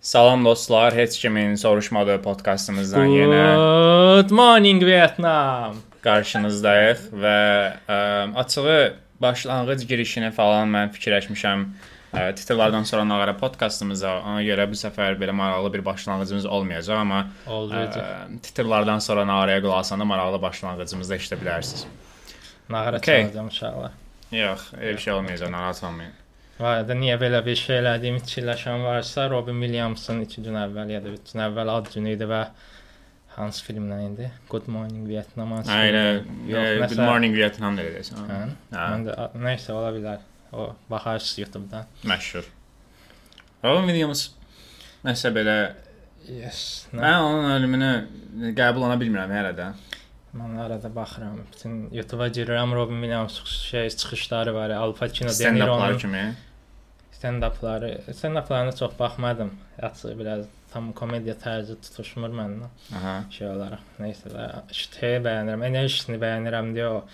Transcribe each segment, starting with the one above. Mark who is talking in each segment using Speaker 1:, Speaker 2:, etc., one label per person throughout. Speaker 1: Salam dostlar, heç kimin soruşmadığı podkastımızdan yenə
Speaker 2: Good morning Vietnam.
Speaker 1: qarşınızdayıq və ə, açığı başlanğıc girişini falan mən fikirləşmişəm. Ə, titrlərdən sonra nağara podkastımıza. Ona görə bu səfər belə maraqlı bir başlanğıcımız olmayacaq, amma
Speaker 2: Oldu.
Speaker 1: ə, titrlərdən sonra nağaraya qulaq asanda maraqlı başlanğıcımızda eşidə bilərsiniz.
Speaker 2: Nağara
Speaker 1: okay.
Speaker 2: çalacağam inşallah.
Speaker 1: Yox, elə bir şey olmayacaq, narahat olmayın.
Speaker 2: Var da niyə belə bir şey elədiyimi fikirləşən varsa, Robin Williamson 2 gün əvvəl ya da 3 gün əvvəl ad günü idi və hansı filmlə idi? Good Morning Vietnam. hansı
Speaker 1: Ayla,
Speaker 2: filmdir? Yox,
Speaker 1: e, good
Speaker 2: nəsə-
Speaker 1: morning Vietnam da deyəsən.
Speaker 2: Hə?
Speaker 1: ha? Hə.
Speaker 2: Mən də nəsə ola bilər. O baxarsınız YouTube-dan.
Speaker 1: Məşhur. Robin Williams nəsə belə
Speaker 2: Yes. Nə?
Speaker 1: mən onun ölümünü qəbul ana bilmirəm hələ də.
Speaker 2: Mən arada baxıram. Bütün YouTube-a girirəm. Robin Williams şey çıxışları var. Al Pacino, De
Speaker 1: Stand-uplar
Speaker 2: Niro'nun
Speaker 1: kimi.
Speaker 2: stand-upları, stand-uplarına çox baxmadım. Açıq biraz tam komediya tərzi tutuşmur məndən
Speaker 1: Aha.
Speaker 2: şey olaraq. Nəysə də şteyi bəyənirəm, enerjisini bəyənirəm deyə o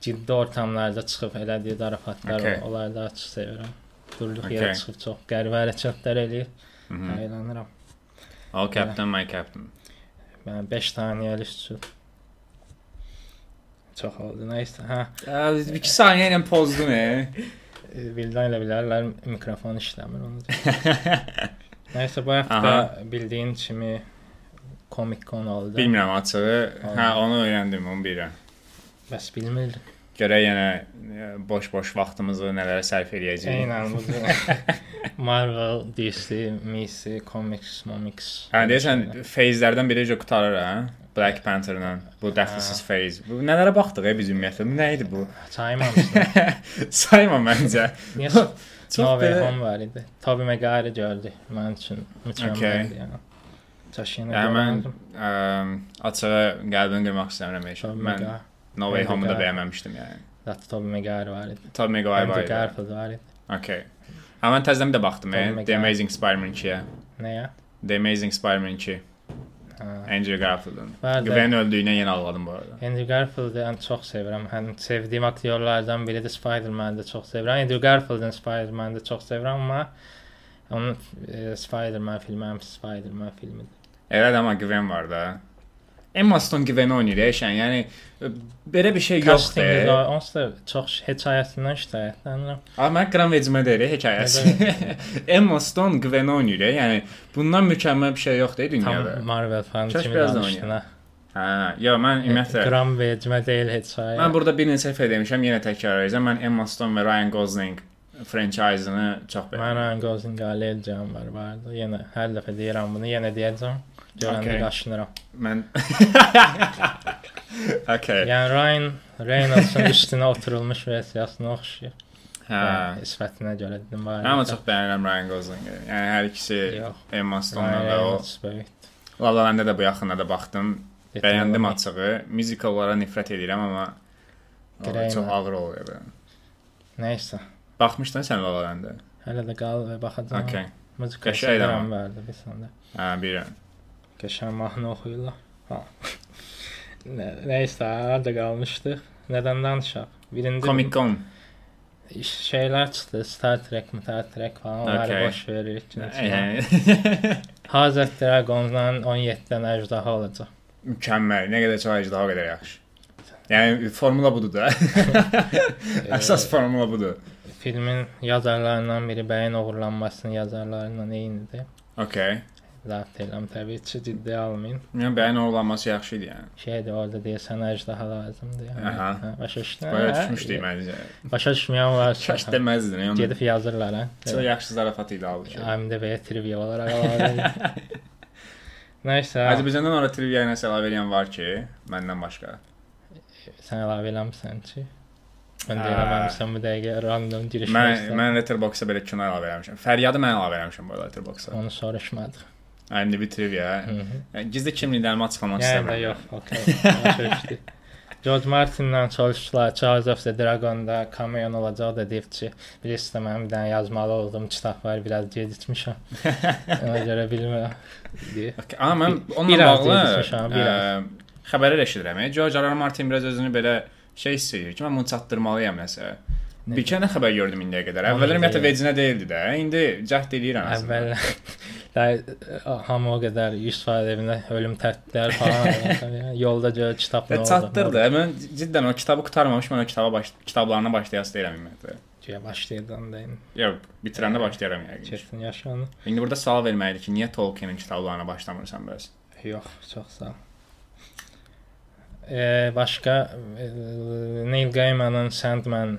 Speaker 2: ciddi ortamlarda çıxıb elədiyi zarafatlar
Speaker 1: Okay.
Speaker 2: okay. onları da çox sevirəm. Durduq okay.
Speaker 1: Okay.
Speaker 2: yerə çıxıb çox qəribə hərəkətlər eləyir.
Speaker 1: Mhm.
Speaker 2: Əylənirəm.
Speaker 1: Oh Captain, my Captain.
Speaker 2: Mən 5 saniyəlik üçün çox oldu. Nəysə, hə.
Speaker 1: 2 saniyə ilə pozdun e.
Speaker 2: Vildan elə bilərlər mikrofon işləmir onu. da. Nəysə bu həftə
Speaker 1: Aha.
Speaker 2: bildiyin kimi Comic Con oldu.
Speaker 1: Bilmirəm açığı.
Speaker 2: Oldu.
Speaker 1: Hə, onu öyrəndim, onu bilirəm.
Speaker 2: Bəs bilmirdim.
Speaker 1: Görək yenə e, boş-boş vaxtımızı nələrə sərf eləyəcəyik.
Speaker 2: Eynən bu Marvel, DC, Misi, Comics, Momics.
Speaker 1: Hə, deyəsən feyzlərdən biri necə qurtarır hə? Black Panther-la. Bu dəxilsiz feyz. Bu nələrə baxdıq e biz ümumiyyətlə? Bu nə idi bu?
Speaker 2: Saymamısan.
Speaker 1: Sayma məncə.
Speaker 2: Niyə?
Speaker 1: Çox
Speaker 2: No Way
Speaker 1: belə-
Speaker 2: Home var idi. Tobey Maguire gördü. Mənim üçün
Speaker 1: Okay.
Speaker 2: mükəmməl idi. yəni. Çox yenə
Speaker 1: Yəni mən
Speaker 2: görmədim.
Speaker 1: ə, açığı qəlbim qırmaq istəmirəm heç.
Speaker 2: Tobey
Speaker 1: Mən
Speaker 2: Maguire.
Speaker 1: No Way
Speaker 2: Mən də
Speaker 1: Home-u da
Speaker 2: qəlb-
Speaker 1: bəyənməmişdim yəni.
Speaker 2: Zaten Tobey Maguire var idi.
Speaker 1: Tom McGuire
Speaker 2: Andrew
Speaker 1: var.
Speaker 2: Garfield var idi.
Speaker 1: Okay. Hə mən təzədən də baxdım,
Speaker 2: Tobey
Speaker 1: e, The
Speaker 2: Maguire.
Speaker 1: Amazing Spider-Man 2-yə.
Speaker 2: Nəyə?
Speaker 1: The Amazing Spider-Man 2.
Speaker 2: Ha.
Speaker 1: Andrew Garfield'ın.
Speaker 2: Bəli.
Speaker 1: Gwen öldüyünə yenə ağladım bu arada.
Speaker 2: Andrew Garfield'ı ən çox sevirəm. Həm sevdiyim aktyorlardan biri də Spider-Man-ı da çox sevirəm. Andrew Garfield'ın Spider-Man-ı da çox sevirəm, amma onun e, Spider-Man filmi həm Spider-Man filmidir.
Speaker 1: Elədir amma Gwen var da. Emma Stone Gwen oynayır eşən. Yəni e, belə bir şey yoxdur.
Speaker 2: Casting-i
Speaker 1: e.
Speaker 2: də onsuz da çox hekayəsindən işləyirəm.
Speaker 1: Amma ekran vecimə deyir e, hekayəsi. Emma Stone Gwen oynayır. e. Yəni bundan mükəmməl bir şey yoxdur e, dünyada.
Speaker 2: Tam Marvel fanı
Speaker 1: Kaş
Speaker 2: kimi
Speaker 1: biraz da
Speaker 2: danışdın ha.
Speaker 1: Hə, yox mən ümumiyyətlə
Speaker 2: Qram vecimə deyil hekayə.
Speaker 1: Mən burada E bir neçə dəfə demişəm, yenə təkrar edəcəm. Mən Emma Stone və Ryan Gosling franchise-ını çox
Speaker 2: Mən
Speaker 1: bəyənirəm.
Speaker 2: Ryan Gosling aləyəcəm var vardı. Yenə hər dəfə deyirəm bunu, yenə deyəcəm. Görəndə
Speaker 1: Okay.
Speaker 2: okay. qaşınıram.
Speaker 1: Mən Okay.
Speaker 2: Yəni Ryan Reynolds-un üstünə oturulmuş versiyasına oxşayır.
Speaker 1: Hə.
Speaker 2: Yəni, sifətinə görə dedim var.
Speaker 1: Mən çox bəyənirəm Ryan Gosling-i. Yəni hər ikisi
Speaker 2: Yox.
Speaker 1: Emma Stone-la və o
Speaker 2: Reynolds
Speaker 1: La La Land-ə də bu yaxında da baxdım. Bəyəndim açığı. Musicallara nifrət edirəm amma o
Speaker 2: Grey
Speaker 1: çox
Speaker 2: Man.
Speaker 1: ağır olur belə.
Speaker 2: Nəysə,
Speaker 1: Baxmışdın sən La La Land-ə?
Speaker 2: hələ də qal və baxacam.
Speaker 1: Okay.
Speaker 2: Musiqa
Speaker 1: Qəşəng
Speaker 2: şeylərim
Speaker 1: adam.
Speaker 2: vardı bir səndə.
Speaker 1: Hə, bilirəm.
Speaker 2: Qəşəng mahnı oxuyurlar. Ha. Nə, nəysə, harda qalmışdıq? Nədən danışaq? Birində
Speaker 1: Comic Con.
Speaker 2: şeylər çıxdı. Star Trek, Star Trek falan onları
Speaker 1: Okay.
Speaker 2: okay. boş veririk.
Speaker 1: Yəni,
Speaker 2: Hazret Dragon'dan 17 dənə əjdaha olacaq.
Speaker 1: Mükəmməl. Nə qədər çox əcdaha o qədər yaxşı. Yəni formula budur da. Əsas formula budur.
Speaker 2: Filmin yazarlarından biri bəyin oğurlanmasının yazarlarından eynidir.
Speaker 1: Okay.
Speaker 2: Zat edirəm təbii ki, ciddi almayın.
Speaker 1: Yəni bəyin oğlanması yaxşı idi yəni.
Speaker 2: Şeydir orada deyəsən əjdaha lazımdır. Yəni.
Speaker 1: Aha.
Speaker 2: Hə, Başa düşdün?
Speaker 1: Belə
Speaker 2: hə?
Speaker 1: düşmüşdü məncə.
Speaker 2: Başa düşməyən varsa.
Speaker 1: Kaş deməzdin yəni.
Speaker 2: Gedib yazırlar hə.
Speaker 1: Çox yaxşı zarafat idi halbuki.
Speaker 2: IMDb-yə trivia olaraq alarlar. Nəysə,
Speaker 1: Azərbaycandan ora trivia ilə səlav eləyən var ki, məndən başqa.
Speaker 2: sən əlavə eləmirsən ki. Mən də
Speaker 1: Hə.
Speaker 2: eləməmişəm bu dəqiqə random giriş.
Speaker 1: Mən mən Letterboxd-a belə kino əlavə eləmişəm. Fəryadı mən əlavə eləmişəm bu arada Letterboxd-a.
Speaker 2: onu soruşmadıq.
Speaker 1: IMDb trivia.
Speaker 2: Mhm.
Speaker 1: Yəni, Gizli kimliklərimi açıqlamaq
Speaker 2: Yəni də
Speaker 1: istəmirəm.
Speaker 2: yox, okey. başa düşdük. George Martin-lə çalışdılar, Charles of the Dragon-da cameo olacaq da deyib ki, bilirsiniz də mənim bir dənə yazmalı olduğum kitab var, biraz gecikmişəm. Ona görə bilmirəm. deyə.
Speaker 1: Okay, Amma mən
Speaker 2: Bir-
Speaker 1: onunla
Speaker 2: biraz
Speaker 1: bağlı
Speaker 2: deyəcəkmiş ha,
Speaker 1: ə,
Speaker 2: biraz.
Speaker 1: xəbərlər eşidirəm. e. George R. R. Martin biraz özünü belə şey hiss edir ki, mən bunu çatdırmalıyam nəsə.
Speaker 2: Nə?
Speaker 1: Bir kənə xəbər gördüm indiyə qədər.
Speaker 2: Onu
Speaker 1: Əvvəllər ümumiyyətlə
Speaker 2: deyək.
Speaker 1: vecinə deyildi də. İndi cəhd eləyirəm.
Speaker 2: Əvvəl Dər, hamı o qədər 100 faiz evində ölüm təhdidləri falan yolda görə kitab
Speaker 1: Və
Speaker 2: nə oldu?
Speaker 1: çatdırdı. Mən cidden o kitabı qurtarmamışam, mən o kitaba baş kitablarına başlayası deyirəm ümumiyyətlə.
Speaker 2: Gəl başlayıdan da indi.
Speaker 1: Yox, bitirəndə başlayaram yəqin.
Speaker 2: Çətin yaşanır.
Speaker 1: İndi burada sual verməlidir ki, niyə Tolkienin kitablarına başlamırsan bəs?
Speaker 2: Yox, çox sağ ol. Ee, başqa e, Neil Gaiman'ın Sandman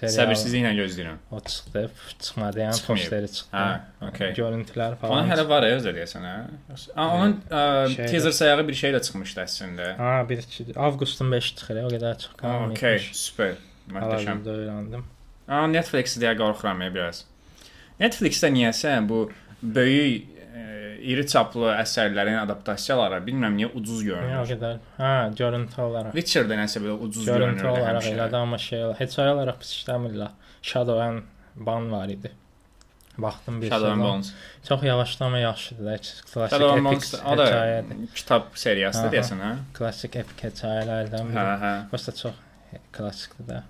Speaker 2: serialı
Speaker 1: Səbirsizliklə gözləyirəm.
Speaker 2: o çıxdı, f- çıxmadı, yəni
Speaker 1: Çıxmayıb.
Speaker 2: posteri çıxdı.
Speaker 1: Hə, okey.
Speaker 2: Görüntülər
Speaker 1: Onun
Speaker 2: falan.
Speaker 1: hələ var ya, özü deyəsən, hə? A, Onun ə,
Speaker 2: Şeydə-
Speaker 1: teaser sayağı bir şey də çıxmışdı əslində.
Speaker 2: Ha, 1 2 avqustun 5 çıxır, o qədər çox
Speaker 1: Ha,
Speaker 2: qalmayıb.
Speaker 1: Okey, super. Möhtəşəm.
Speaker 2: Hal-hazırda öyrəndim.
Speaker 1: Aa, Netflix-i deyə qorxuram ya biraz. Netflix-də niyəsə bu böyük ə, iri çaplı əsərlərin adaptasiyaları bilmirəm niyə ucuz
Speaker 2: Yəni o
Speaker 1: görünür.
Speaker 2: qədər. Hə, görüntü olaraq.
Speaker 1: Witcher-də nəsə belə ucuz görünür.
Speaker 2: Görüntü olaraq
Speaker 1: həmişə.
Speaker 2: elədi, amma şey olaraq, heç ay olaraq pis işləmirlər. Shadow-un ban var idi. Baxdım bir
Speaker 1: Shadow and
Speaker 2: sezon.
Speaker 1: Bones.
Speaker 2: Çox yavaşlama yaxşıdır da. heç Klassik
Speaker 1: Shadow and
Speaker 2: epik
Speaker 1: Bones o da
Speaker 2: hekayədir.
Speaker 1: kitab seriyasıdır
Speaker 2: Aha.
Speaker 1: deyəsən, hə?
Speaker 2: Klassik epik hekayələrdən
Speaker 1: Hə,
Speaker 2: biri.
Speaker 1: hə.
Speaker 2: Bəsdə çox klassikdir də.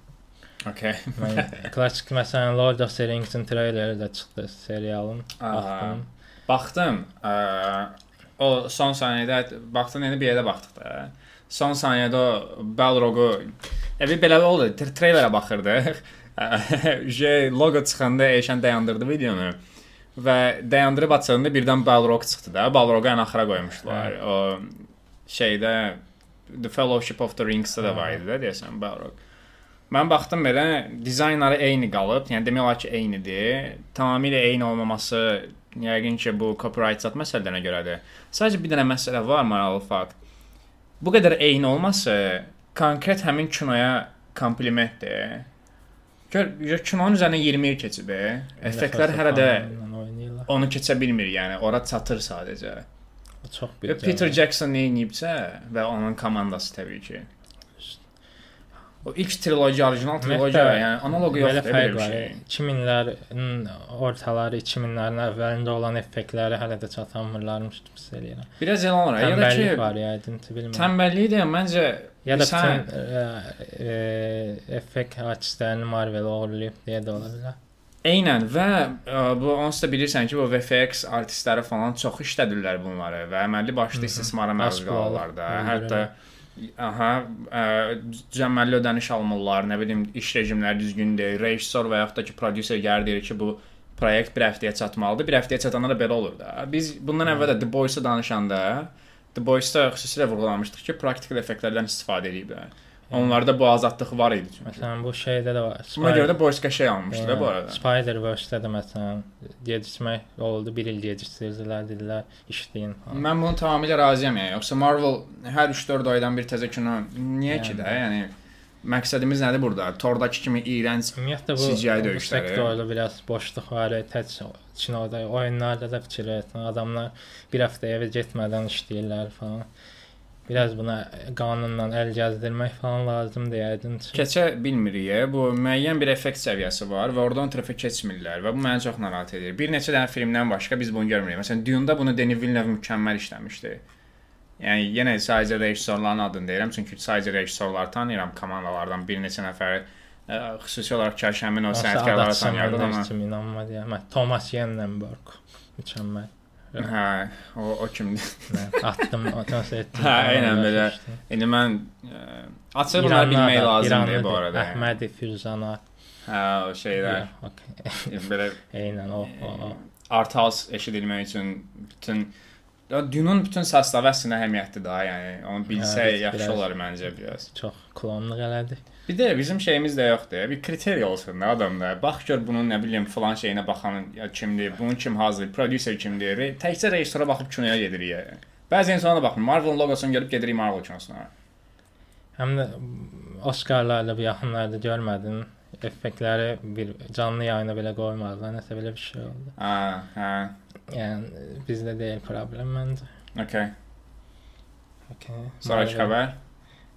Speaker 1: Okay.
Speaker 2: Mən klassik məsələn Lord of the Rings-in treyleri də çıxdı serialın.
Speaker 1: Aha.
Speaker 2: Baxdım.
Speaker 1: Baxdım, ə, o son saniyədə baxdım, yəni bir yerdə baxdıq da. Son saniyədə o Balrog'u evi belə oldu, tr- treylerə baxırdıq. J logo çıxanda Eşən dayandırdı videonu və dayandırıb açanda birdən Balrog çıxdı da. Balrog'u ən axıra qoymuşdular. O şeydə The Fellowship of the Rings-də də var idi də deyəsən Balrog. Mən baxdım belə dizaynları eyni qalıb, yəni demək olar ki, eynidir. Tamamilə eyni olmaması yəqin ki, bu copyright zat məsələlərinə görədir. Sadəcə bir dənə məsələ var maraqlı fakt. Bu qədər eyni olması konkret həmin kinoya komplimentdir. Gör, gör, kinonun üzərinə 20 il keçib. e. Effektlər hələ də
Speaker 2: oynayırlar.
Speaker 1: onu keçə bilmir, yəni ora çatır sadəcə.
Speaker 2: O çox
Speaker 1: Və
Speaker 2: bir.
Speaker 1: Peter Jackson nə edibsə və onun komandası təbii ki. O ilk trilogiya, orijinal trilogiya,
Speaker 2: Ümumiyyətlə,
Speaker 1: yəni analoqu
Speaker 2: Belə
Speaker 1: yoxdur belə
Speaker 2: fərq
Speaker 1: bir
Speaker 2: var.
Speaker 1: şey.
Speaker 2: 2000-lərin ortaları, 2000-lərin əvvəlində olan effektləri hələ də çatanmırlarmış kimi hiss eləyirəm.
Speaker 1: Biraz elə olur. Ya da şey, ki,
Speaker 2: Tənbəllik var ya, edinti bilmirəm.
Speaker 1: tənbəllik deyil, məncə
Speaker 2: Ya da
Speaker 1: sən-
Speaker 2: bütün e, e, effekt artistlərini Marvel uğurlayıb deyə də ola bilər.
Speaker 1: Eynən və ə, bu onsuz da bilirsən ki, bu VFX artistləri falan çox işlədirlər bunları və əməlli başlı istismara məruz
Speaker 2: Asılı olub,
Speaker 1: qalırlar da.
Speaker 2: öldürürlər.
Speaker 1: Hətta aha, ə, cəməlli ödəniş almırlar, nə bilim, iş rejimləri düzgün deyil, rejissor və yaxud da ki, prodüser gəlir deyir ki, bu layihə bir həftəyə çatmalıdır. Bir həftəyə çatanda da belə olur da. Biz bundan əvvəl də The Boys-a danışanda The Boys-da xüsusilə vurğulamışdıq ki, praktikal effektlərdən istifadə ediblər. Onlarda bu azadlıq var idi çünki.
Speaker 2: Məsələn, bu şeydə də var.
Speaker 1: Buna görə
Speaker 2: Spider-
Speaker 1: də Boys-a şey almışdı da bu
Speaker 2: Yəni,
Speaker 1: arada.
Speaker 2: Spider-Verse-də də məsələn gecikmək oldu, 1 il gecikdirdilər, dedilər işləyin. falan.
Speaker 1: Mən bunu tamamilə razıyam yəni. Yoxsa Marvel hər 3-4 aydan bir təzə kino niyə
Speaker 2: Yəni.
Speaker 1: ki də? Yəni məqsədimiz nədir burada? Tordakı kimi iyrənc
Speaker 2: Ümumiyyətlə bu,
Speaker 1: CGI
Speaker 2: bu
Speaker 1: döyüşləri.
Speaker 2: sektorda biraz boşluq var, tək kinoda, oyunlarda da fikir etmə. Adamlar bir həftə evə getmədən işləyirlər falan. Biraz buna qanunla əl gəzdirmək falan lazımdır yəqin. ki.
Speaker 1: keçə bilmirik. e? Bu müəyyən bir effekt səviyyəsi var və oradan tərəfə keçmirlər və bu məni çox narahat edir. Bir neçə dənə filmdən başqa biz bunu görmürük. Məsələn, Dune-da bunu Denis Villeneuve mükəmməl işləmişdi. Yəni yenə sadəcə rejissorların adını deyirəm, çünki sadəcə rejissorları tanıyıram, komandalardan bir neçə nəfəri ə, xüsusi olaraq kaş həmin o sənətkarları
Speaker 2: Adakçı
Speaker 1: tanıyardım
Speaker 2: mənə
Speaker 1: amma
Speaker 2: heç kim inanmadı. ya. Mən Thomas Yenenberg mükəmməl.
Speaker 1: hə, o, o kimdir?
Speaker 2: Mən Atdım, atmas etdim.
Speaker 1: Hə, eynən belə.
Speaker 2: İşte.
Speaker 1: İndi mən açıb bunları bilmək lazımdır bu arada. yəni.
Speaker 2: Əhmədi Firuzana.
Speaker 1: Hə, o şeylər yəni
Speaker 2: Okay.
Speaker 1: belə
Speaker 2: Eynən o,
Speaker 1: Ee,
Speaker 2: o, o.
Speaker 1: art house eşidilmək üçün bütün Ya, Dünün bütün səslavı əslində əhəmiyyətli daha, yəni onu bilsə
Speaker 2: Hə, biz
Speaker 1: yaxşı
Speaker 2: biraz-
Speaker 1: olar məncə biraz.
Speaker 2: çox klonluq elədi.
Speaker 1: Bir də bizim şeyimiz də yoxdur. Bir kriteriya olsun da adamda. Bax gör bunun nə bilim filan şeyinə baxan ya kimdir, bunun kim hazır, prodüser kimdir. Re- Təkcə rejissora baxıb kinoya gedirik. yəni. Bəzi insana baxmır. Marvel loqosunu görüb gedirik Marvel kinosuna.
Speaker 2: Həm də Oskarlarla bu yaxınlarda görmədin. Effektləri bir canlı yayına belə qoymadılar. Nəsə belə bir şey oldu.
Speaker 1: Ha, hə.
Speaker 2: Yəni bizdə deyil problem məncə.
Speaker 1: Okay.
Speaker 2: Okay.
Speaker 1: Sonrakı xəbər.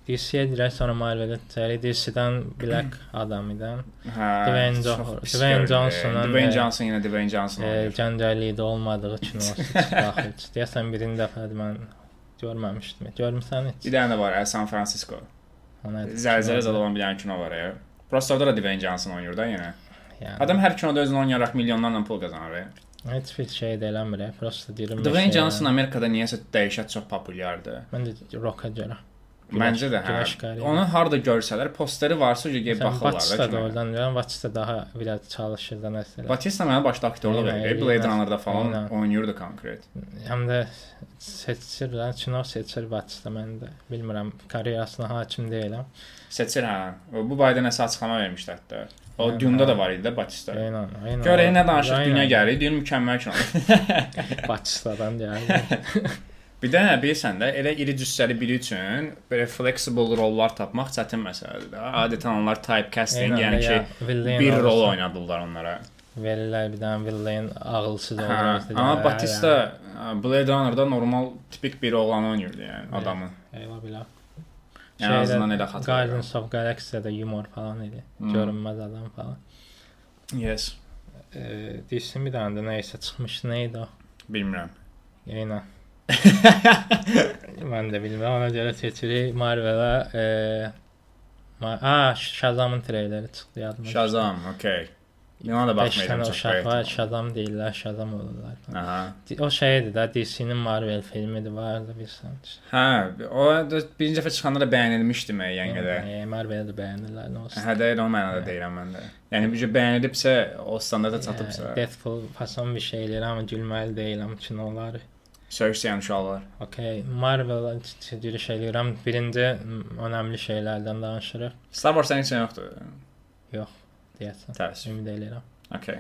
Speaker 2: DC-yə dirək sonra Marvel-ə çəri DC-dən Black adam idi.
Speaker 1: Hə.
Speaker 2: Dwayne
Speaker 1: çox
Speaker 2: Jo-
Speaker 1: pis
Speaker 2: Dwayne
Speaker 1: görünür.
Speaker 2: Johnson'ın
Speaker 1: Dwayne
Speaker 2: və-
Speaker 1: Johnson yenə Dwayne Johnson.
Speaker 2: E,
Speaker 1: oynayır.
Speaker 2: Cəncəliyi də olmadığı üçün o çıxış. Deyəsən birinci dəfədir mən görməmişdim. Görmüsən heç?
Speaker 1: Bir dənə də var, ə, San Francisco.
Speaker 2: Ona-
Speaker 1: Zəlzələ zad olan bir dənə kino var ya. Prosta orada da Dwayne Johnson oynayır da yenə.
Speaker 2: Yəni,
Speaker 1: Adam hər kinoda özünü oynayaraq milyonlarla pul qazanır. ya.
Speaker 2: Heç bir şey də eləmirəm. Prosta deyirəm.
Speaker 1: Dwayne Johnson Amerikada niyəsə dəhşət çox populyardır.
Speaker 2: Mən də roka görə.
Speaker 1: Məncə də hə.
Speaker 2: güləş qarı.
Speaker 1: Onu harda görsələr, posteri varsa gedib baxırlar
Speaker 2: Baxırlar da
Speaker 1: da.
Speaker 2: oradan. Mən Watch-da daha biraz çalışır da məsələ.
Speaker 1: Batista mənə başda aktyorluq
Speaker 2: Eynən,
Speaker 1: edir. Blade
Speaker 2: eynən.
Speaker 1: Runner-da falan
Speaker 2: Eynən.
Speaker 1: oynayırdı konkret.
Speaker 2: Həm də seçir, yəni kino seçir Watch-da mən də bilmirəm, karyerasına hakim deyiləm.
Speaker 1: Seçir hə. Bu barədə nəsə açıqlama vermişdi hətta. O
Speaker 2: Eynən,
Speaker 1: Dune-da da
Speaker 2: hə.
Speaker 1: var idi də Batista.
Speaker 2: Eynən, eynən.
Speaker 1: Görək nə danışıq
Speaker 2: Eynən.
Speaker 1: dünya gəlir. Dün mükəmməl kinodur.
Speaker 2: Watch-dan yəni.
Speaker 1: Bir də nə bilirsən də elə iri cüssəli biri üçün belə flexible rollar tapmaq çətin məsələdir də. Adətən onlar typecasting, yəni ki, bir rol oynadırlar onlara.
Speaker 2: Verirlər bir dənə villain ağılsız
Speaker 1: Hə,
Speaker 2: olur.
Speaker 1: amma Batista ə, Blade Runner-da normal tipik bir oğlan oynayırdı yəni
Speaker 2: Elə.
Speaker 1: adamı.
Speaker 2: Eyvah bilə.
Speaker 1: Yəni azından elə xatırlayıram.
Speaker 2: Guardians of Galaxy-də yumor falan idi.
Speaker 1: Hmm.
Speaker 2: Hmm. Görünməz adam falan.
Speaker 1: Yes,
Speaker 2: E, DC bir dənə də nəysə çıxmış, nə idi o?
Speaker 1: bilmirəm.
Speaker 2: Eynən. Mən də bilmirəm, ona görə seçirik Marvel-ə. E, Ma a, Shazam'ın treyleri çıxdı yadıma.
Speaker 1: Shazam, okay. Buna da
Speaker 2: Beş
Speaker 1: baxmayacam
Speaker 2: tane
Speaker 1: çox
Speaker 2: uşaq var,
Speaker 1: bəyəm.
Speaker 2: Shazam deyirlər, Shazam olurlar.
Speaker 1: Aha.
Speaker 2: Di- O şeydi də, DC-nin Marvel filmidir, vardı bir sanç.
Speaker 1: Hə, o da birinci dəfə çıxanda da bəyənilmişdi müəyyən qədər.
Speaker 2: E, Marvel də bəyənirlər, nə olsun.
Speaker 1: Hə, də elə o mənada deyirəm mən də. Yəni bir şey bəyənilibsə, o standarta çatıbsa,
Speaker 2: E, Deadpool fason bir şeyler ama gülməli deyiləm ki, nə olar.
Speaker 1: söyüşsən uşaqlar.
Speaker 2: Okay, Marvel giriş eləyirəm. Birinci m, önəmli şeylərdən danışırıq.
Speaker 1: Star Wars sənin üçün yoxdur.
Speaker 2: Deyəsən,
Speaker 1: Təəssüf.
Speaker 2: ümid eləyirəm.
Speaker 1: Okay.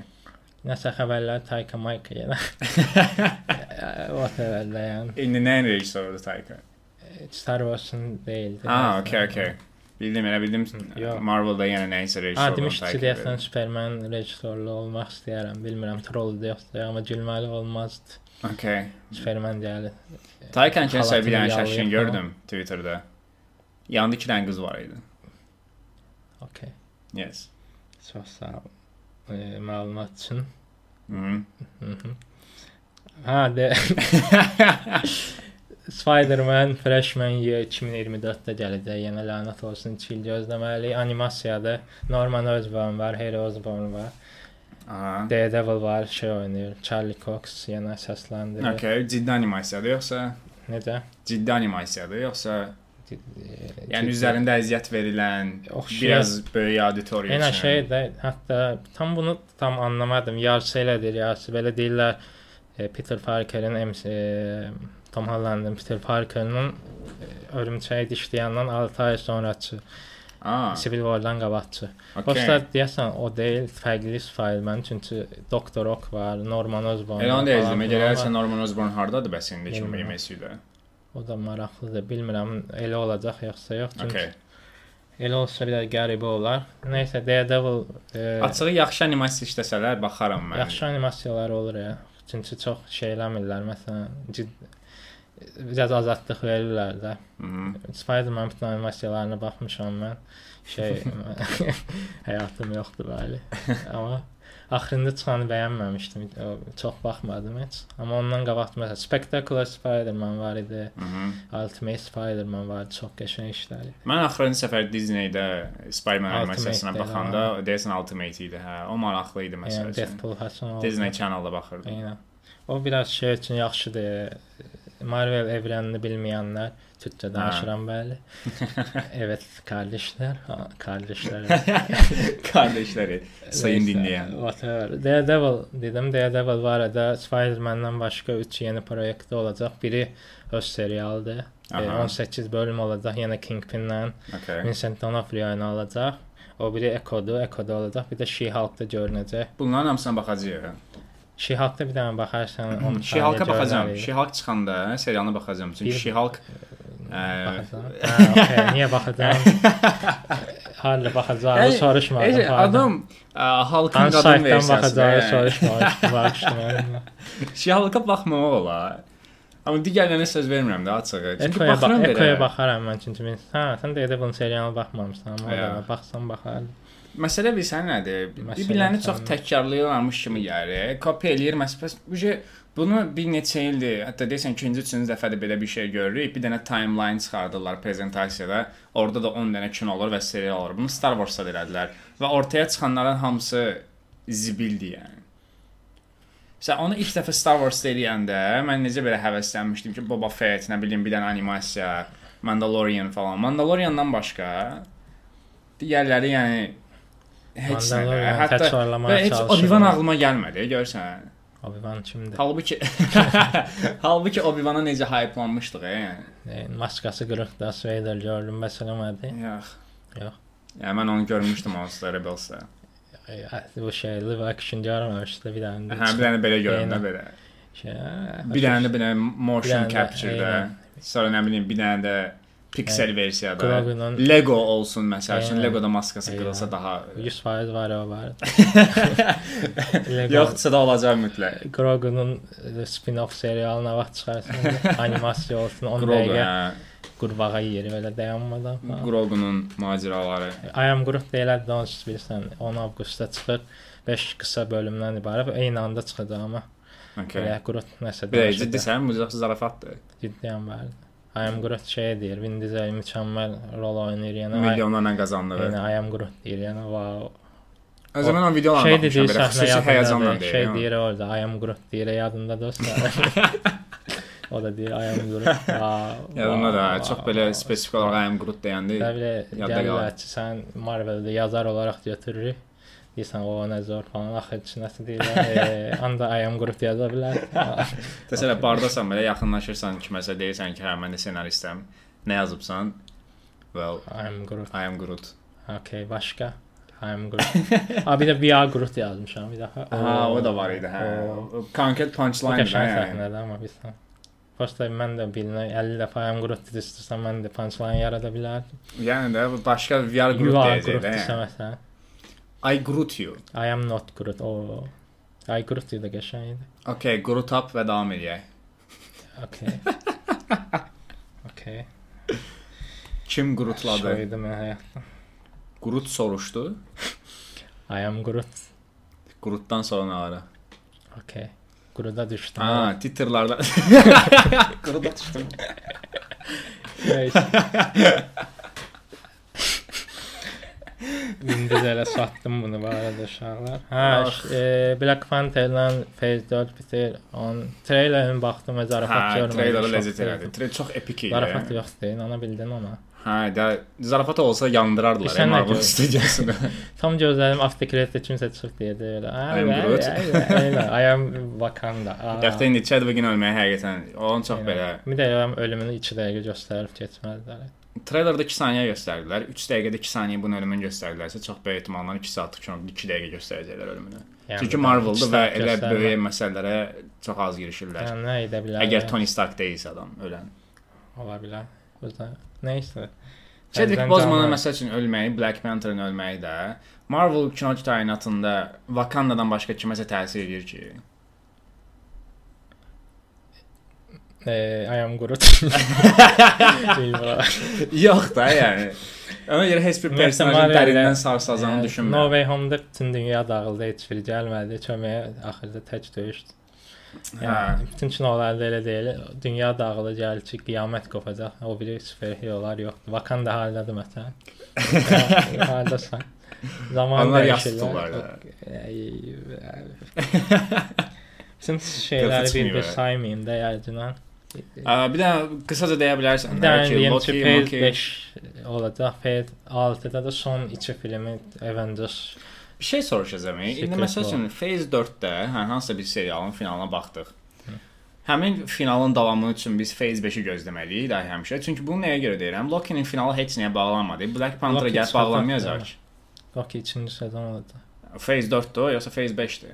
Speaker 2: Nəsə xəbərlər Taika Mike yenə. Whatever də yəni.
Speaker 1: İndi nə rejissoru Taika?
Speaker 2: Star Wars'ın deyildi.
Speaker 1: Ah, okay, okay. Bildim, elə bildim.
Speaker 2: Yox.
Speaker 1: Marvel-da yenə nə isə
Speaker 2: Ha,
Speaker 1: rejissoru.
Speaker 2: demiş ki, deyəsən Superman rejissorlu olmaq istəyirəm. Bilmirəm, troll deyəsən, amma gülməli olmazdı.
Speaker 1: Okay.
Speaker 2: Superman deyəli.
Speaker 1: Taykan kəsə
Speaker 2: Xalatını
Speaker 1: bir dənə
Speaker 2: yalıyıb
Speaker 1: şəkilini
Speaker 2: falan.
Speaker 1: şey gördüm Twitterdə. Yanında iki dənə qız var idi.
Speaker 2: Okay.
Speaker 1: Yes.
Speaker 2: Çox sağ ol. E, məlumat üçün.
Speaker 1: Mhm.
Speaker 2: Mhm. Ha, de. Spider-Man Freshman Year 2024-də gələcək. Yenə lənət olsun 2 il gözləməliyik. Animasiyada Norman Osborn var, Harry Osborn var.
Speaker 1: Aha.
Speaker 2: Daredevil var, şey oynayır. Charlie Cox yenə səsləndirir. Okay.
Speaker 1: Okay, ciddi animasiyadır yoxsa?
Speaker 2: Necə?
Speaker 1: Ciddi animasiyadır yoxsa?
Speaker 2: E,
Speaker 1: Yəni üzərində əziyyət verilən,
Speaker 2: Oxşayır.
Speaker 1: biraz böyük auditoriya
Speaker 2: Yenə şey də hətta tam bunu tam anlamadım. Yarısı elədir, yarısı belə deyirlər. E, Peter Parkerin MC e, Tom Holland'ın Peter Parker'ın e, örümçəyi dişləyəndən 6 ay sonraçı
Speaker 1: Ah,
Speaker 2: Civil War'dan qabaqçı. Başda
Speaker 1: okay.
Speaker 2: deyəsən o deyil, fərqli Spider-Man çünki Dr. Ock var, Norman Osborn.
Speaker 1: Elə E, onu
Speaker 2: var
Speaker 1: deyəcəm.
Speaker 2: falan filan
Speaker 1: Gələrsə Norman Osborn hardadır bəs indi ki,
Speaker 2: Bilmirəm.
Speaker 1: MCU-də?
Speaker 2: var. O da maraqlıdır. Bilmirəm elə olacaq yoxsa yox. Çünki
Speaker 1: Okay.
Speaker 2: okay. elə olsa bir də qəribə olar. Nəysə Daredevil e,
Speaker 1: Açığı yaxşı animasiya işləsələr baxaram mən.
Speaker 2: Yaxşı animasiyalar olur ya. Çünki çox şey eləmirlər. Məsələn, cid biraz azadlıq verirlər də.
Speaker 1: Mhm.
Speaker 2: Spider-Man bütün animasiyalarına baxmışam mən. Şey həyatım yoxdur bəli. Amma axırında çıxanı bəyənməmişdim. O, çox baxmadım heç. Amma ondan qabaq məsələn Spectacular Spider-Man var idi.
Speaker 1: Mhm.
Speaker 2: Ultimate Spider-Man var, idi, çox qəşəng işləri.
Speaker 1: Mən axırıncı səfər Disney-də Spider-Man
Speaker 2: Ultimate
Speaker 1: animasiyasına
Speaker 2: idi,
Speaker 1: baxanda deyəsən Ultimate idi, hə. O maraqlı idi
Speaker 2: Yəni
Speaker 1: məsələn.
Speaker 2: Deadpool Hasan oldu.
Speaker 1: Disney Channel-da baxırdım.
Speaker 2: Eynən. O biraz şey üçün yaxşıdır. Marvel evrenini bilmeyenler Türkçe danışıram bəli. evet kardeşler. Ha, kardeşler.
Speaker 1: Kardeşləri, sayın
Speaker 2: Neyse,
Speaker 1: dinləyən.
Speaker 2: Whatever. Daredevil dedim. Daredevil var ya Spider-Man'dan başka 3 yeni proyekti olacaq. Biri öz serialdır.
Speaker 1: Aha.
Speaker 2: E, 18 bölüm olacaq. Yenə Kingpin'lə
Speaker 1: Okay.
Speaker 2: Vincent D'Onofrio olacaq. O biri Eko'du. Eko'da olacaq. Bir də She-Hulk'da görünəcək.
Speaker 1: Bunların hamısına baxacağıq.
Speaker 2: She-Hulk'da bir dənə baxarsan. onu
Speaker 1: She-Hulk-a
Speaker 2: sadəcə
Speaker 1: baxacam.
Speaker 2: görmək.
Speaker 1: She-Hulk çıxanda serialına baxacam. Çünki
Speaker 2: Bir-
Speaker 1: She-Hulk
Speaker 2: Baxacam.
Speaker 1: ə,
Speaker 2: Ha, okey, niyə baxacam? Həllə baxacam,
Speaker 1: Ey,
Speaker 2: soruşma.
Speaker 1: Ey, adam ə, Hulk'ın qadın
Speaker 2: Ansaitdən baxacam,
Speaker 1: versiyasıdır.
Speaker 2: soruşma. Baxışdım.
Speaker 1: She-Hulk-a baxmamaq olar. Amma digərlərinə söz vermirəm də açığı. Çünki
Speaker 2: Ekoya bax,
Speaker 1: baxıram
Speaker 2: Ekoya
Speaker 1: belə.
Speaker 2: baxaram mən çünki mən. Ha, sən də Edebun serialına baxmamısan, amma o da
Speaker 1: Ya.
Speaker 2: baxsan baxar.
Speaker 1: Məsələ bilsən nədir?
Speaker 2: Məsələ
Speaker 1: Bir-birlərini çox
Speaker 2: sən-
Speaker 1: təkrarlayırlarmış kimi gəlir. Kopya eləyir məsələn. Bu şey bunu bir neçə ildir, hətta desən ikinci, üçüncü dəfədir belə bir şey görürük. Bir dənə timeline çıxardırlar prezentasiyada. Orada da 10 dənə kino olur və serial olur. Bunu Star Wars-da da elədilər və ortaya çıxanların hamısı zibildir yəni. Məsələn, onu ilk dəfə Star Wars deyəndə mən necə belə həvəslənmişdim ki, Boba Fett, nə bilim, bir dənə animasiya, Mandalorian falan. Mandaloriandan başqa digərləri yəni heç nə.
Speaker 2: Mandalorian
Speaker 1: Hətta
Speaker 2: təkrarlamağa
Speaker 1: və heç
Speaker 2: çalışıram.
Speaker 1: Obi-Wan ağlıma gəlmədi, görsən.
Speaker 2: Obi-Wan kimdir?
Speaker 1: Halbuki Halbuki Obi-Wana necə hype-lanmışdıq, e, yəni.
Speaker 2: E, maskası qırıq da Vader gördüm məsələmədi.
Speaker 1: Yox.
Speaker 2: Yox.
Speaker 1: Ya mən onu görmüşdüm Monster Rebels'da.
Speaker 2: E, bu şey live action görməmişdi bir dənə.
Speaker 1: Hə, bir dənə belə görəndə
Speaker 2: Eynən.
Speaker 1: belə.
Speaker 2: Şey,
Speaker 1: Bir dənə də belə motion
Speaker 2: Bir dənə də,
Speaker 1: capture-də,
Speaker 2: eynən.
Speaker 1: sonra nə bilim bir dənə də piksel versiyada.
Speaker 2: Qulağının-
Speaker 1: Lego olsun məsəl üçün,
Speaker 2: Eynən.
Speaker 1: Lego da maskası
Speaker 2: Eynən.
Speaker 1: qırılsa daha.
Speaker 2: 100% var o var. Lego-
Speaker 1: Yoxsa da olacaq mütləq.
Speaker 2: Grogu'nun e, spin-off serialına vaxt çıxarsın. animasiya olsun 10
Speaker 1: Grogu,
Speaker 2: dəqiqə
Speaker 1: hə,
Speaker 2: qurbağa yeri belə dayanmadan. falan.
Speaker 1: Grogu-nun macəraları.
Speaker 2: I am Groot deyilər danış bilirsən 10 avqustda çıxır. 5 qısa bölümdən ibarət və eyni anda çıxacaq amma.
Speaker 1: Okay.
Speaker 2: Belə Groot nəsə
Speaker 1: Bir də
Speaker 2: danışacaq.
Speaker 1: ciddisən, bu çox zarafatdır.
Speaker 2: Ciddiyəm bəli. I am Groot şey deyir, Vin Diesel mükəmməl rol oynayır yəni. I-
Speaker 1: Milyonlarla qazandığı.
Speaker 2: Yəni I am Groot deyir yəni. Wow.
Speaker 1: O zaman o videolara
Speaker 2: Şey deyir,
Speaker 1: baxmışam, belə
Speaker 2: səhnə
Speaker 1: xüsusi
Speaker 2: yadında
Speaker 1: həyəcanla
Speaker 2: deyir. Şey
Speaker 1: deyir.
Speaker 2: deyir orada, I am Groot deyir yadında dostlar. o da deyir I am Groot. Wow.
Speaker 1: Yadımda da
Speaker 2: wow,
Speaker 1: çox belə
Speaker 2: wow.
Speaker 1: spesifik olaraq I am Groot deyəndə
Speaker 2: Elə bilə
Speaker 1: Yadda
Speaker 2: gəlirlər
Speaker 1: qalan.
Speaker 2: ki, sən Marvel-də yazar olaraq götürürük. Deyirsən, o nə zor falan, axı içindəsi deyirlər, e, anda I am Groot yaza bilər.
Speaker 1: Desələ bardasan belə yaxınlaşırsan kiməsə deyirsən ki, hə mən də ssenaristəm. Nə yazıbsan? Well,
Speaker 2: I am Groot.
Speaker 1: I am Groot.
Speaker 2: Okay, başqa. I am Groot. Ha, bir də we are Groot yazmışam bir daha.
Speaker 1: Ha, o da var idi, hə. Konkret punchline
Speaker 2: Qəşəng
Speaker 1: də.
Speaker 2: səhnədir amma biz Prosta mən də bilinə 50 dəfə I am Groot dedi, istəsən mən də punchline yarada bilərdim.
Speaker 1: Yəni də başqa VR
Speaker 2: You
Speaker 1: Groot
Speaker 2: are Groot desə
Speaker 1: deyəcək.
Speaker 2: məsələn.
Speaker 1: I Groot you.
Speaker 2: I am not Groot. O. I Groot idi qəşəng idi.
Speaker 1: Okay, Groot up və davam edək.
Speaker 2: Okay. okay.
Speaker 1: Kim Grootladı?
Speaker 2: Şoydu mən həyatda.
Speaker 1: Groot soruşdu.
Speaker 2: I am Groot.
Speaker 1: Grootdan sonra nə var?
Speaker 2: Okay. Groot'a düşdüm.
Speaker 1: Ha, titrlərdə. Groot'a düşdüm.
Speaker 2: Neyse. İndi də elə satdım bunu bu arada uşaqlar. Hə,
Speaker 1: Ax.
Speaker 2: ş- e, Black Panther-lə Phase 4 bitir. On treylerin baxdım və
Speaker 1: Hə,
Speaker 2: zarafat görmədim.
Speaker 1: treylerə
Speaker 2: şok
Speaker 1: ləzzət
Speaker 2: verdi.
Speaker 1: elədi. Treyler çox epik idi.
Speaker 2: Zarafat yoxdur, inana bildin ona.
Speaker 1: Hə, də zarafat olsa yandırardılar e,
Speaker 2: Sən nə
Speaker 1: Marvel
Speaker 2: görürsən?
Speaker 1: studiyasını.
Speaker 2: Tam gözlərim after credit kimsə çıxdı dedi elə.
Speaker 1: I am Groot.
Speaker 2: I am Wakanda. Aa.
Speaker 1: Dəftə indi Chadwick-in ölməyi həqiqətən onun çox
Speaker 2: Elə.
Speaker 1: belə.
Speaker 2: Bir də yəni ölümünü 2 dəqiqə göstərib keçməlidir.
Speaker 1: Treylerdə 2 saniyə göstərdilər. 3 dəqiqədə 2 saniyə bunun ölümünü göstərdilərsə, çox böyük ehtimalla 2 saatlıq kinoda 2 dəqiqə göstərəcəklər ölümünü.
Speaker 2: Yəni,
Speaker 1: Çünki Marvel-da
Speaker 2: üç
Speaker 1: və
Speaker 2: saat
Speaker 1: elə
Speaker 2: göstərmə.
Speaker 1: böyük məsələlərə çox az girişirlər.
Speaker 2: Yəni nə edə bilər?
Speaker 1: Əgər Tony Stark deyilsə adam ölən.
Speaker 2: Ola bilər. Özə. Nəysə.
Speaker 1: Chadwick
Speaker 2: Bəzən
Speaker 1: Boseman-ın
Speaker 2: canlı-
Speaker 1: məsəl üçün ölməyi, Black Panther-ın ölməyi də Marvel kino kainatında Wakanda-dan başqa kiməsə təsir edir ki.
Speaker 2: Eee, Ee, I am Groot.
Speaker 1: Yox da, yəni. Ona görə heç bir
Speaker 2: Ümumiyyətlə,
Speaker 1: personajın
Speaker 2: Marvel-də-
Speaker 1: dərindən sarsacağını
Speaker 2: No
Speaker 1: düşünmürəm.
Speaker 2: Way Home-da bütün dünya dağıldı, şey heç biri gəlmədi. Köməyə axırda tək döyüşdü.
Speaker 1: Hə.
Speaker 2: Yəni, bütün kinolarda elə deyil. Dünya dağıldı, gəlir ki, qiyamət qopacaq. O biri superherolar yoxdur. Wakanda haldadır məsələn. Yəni, Haldasan. Zaman
Speaker 1: Onlar
Speaker 2: dəyişirlər.
Speaker 1: yas tuturlar da.
Speaker 2: Ey, Bütün şeyləri
Speaker 1: çıxmıyor, hə.
Speaker 2: bir-bir saymayın da yəcindən.
Speaker 1: Ə, Bir də qısaca deyə bilərsən
Speaker 2: Bir
Speaker 1: də
Speaker 2: dənə
Speaker 1: ki,
Speaker 2: deyim ki,
Speaker 1: Loki,
Speaker 2: Phase
Speaker 1: Loki
Speaker 2: 5 olacaq. Phase 6-da da son 2 filmi Avengers.
Speaker 1: bir şey soruşacağam. İndi
Speaker 2: Secret
Speaker 1: məsəl üçün Phase 4-də hə, hansısa bir serialın finalına baxdıq. Həmin finalın davamı üçün biz Phase 5-i gözləməliyik də həmişə. Çünki bunu nəyə görə deyirəm? Loki-nin finalı heç nəyə bağlanmadı. Black Panther-a
Speaker 2: Loki
Speaker 1: gəlib
Speaker 2: çıxacaq,
Speaker 1: bağlanmayacaq.
Speaker 2: yəni. Loki 2-ci sezon olacaq.
Speaker 1: Phase 4-dür yoxsa Phase 5-dir?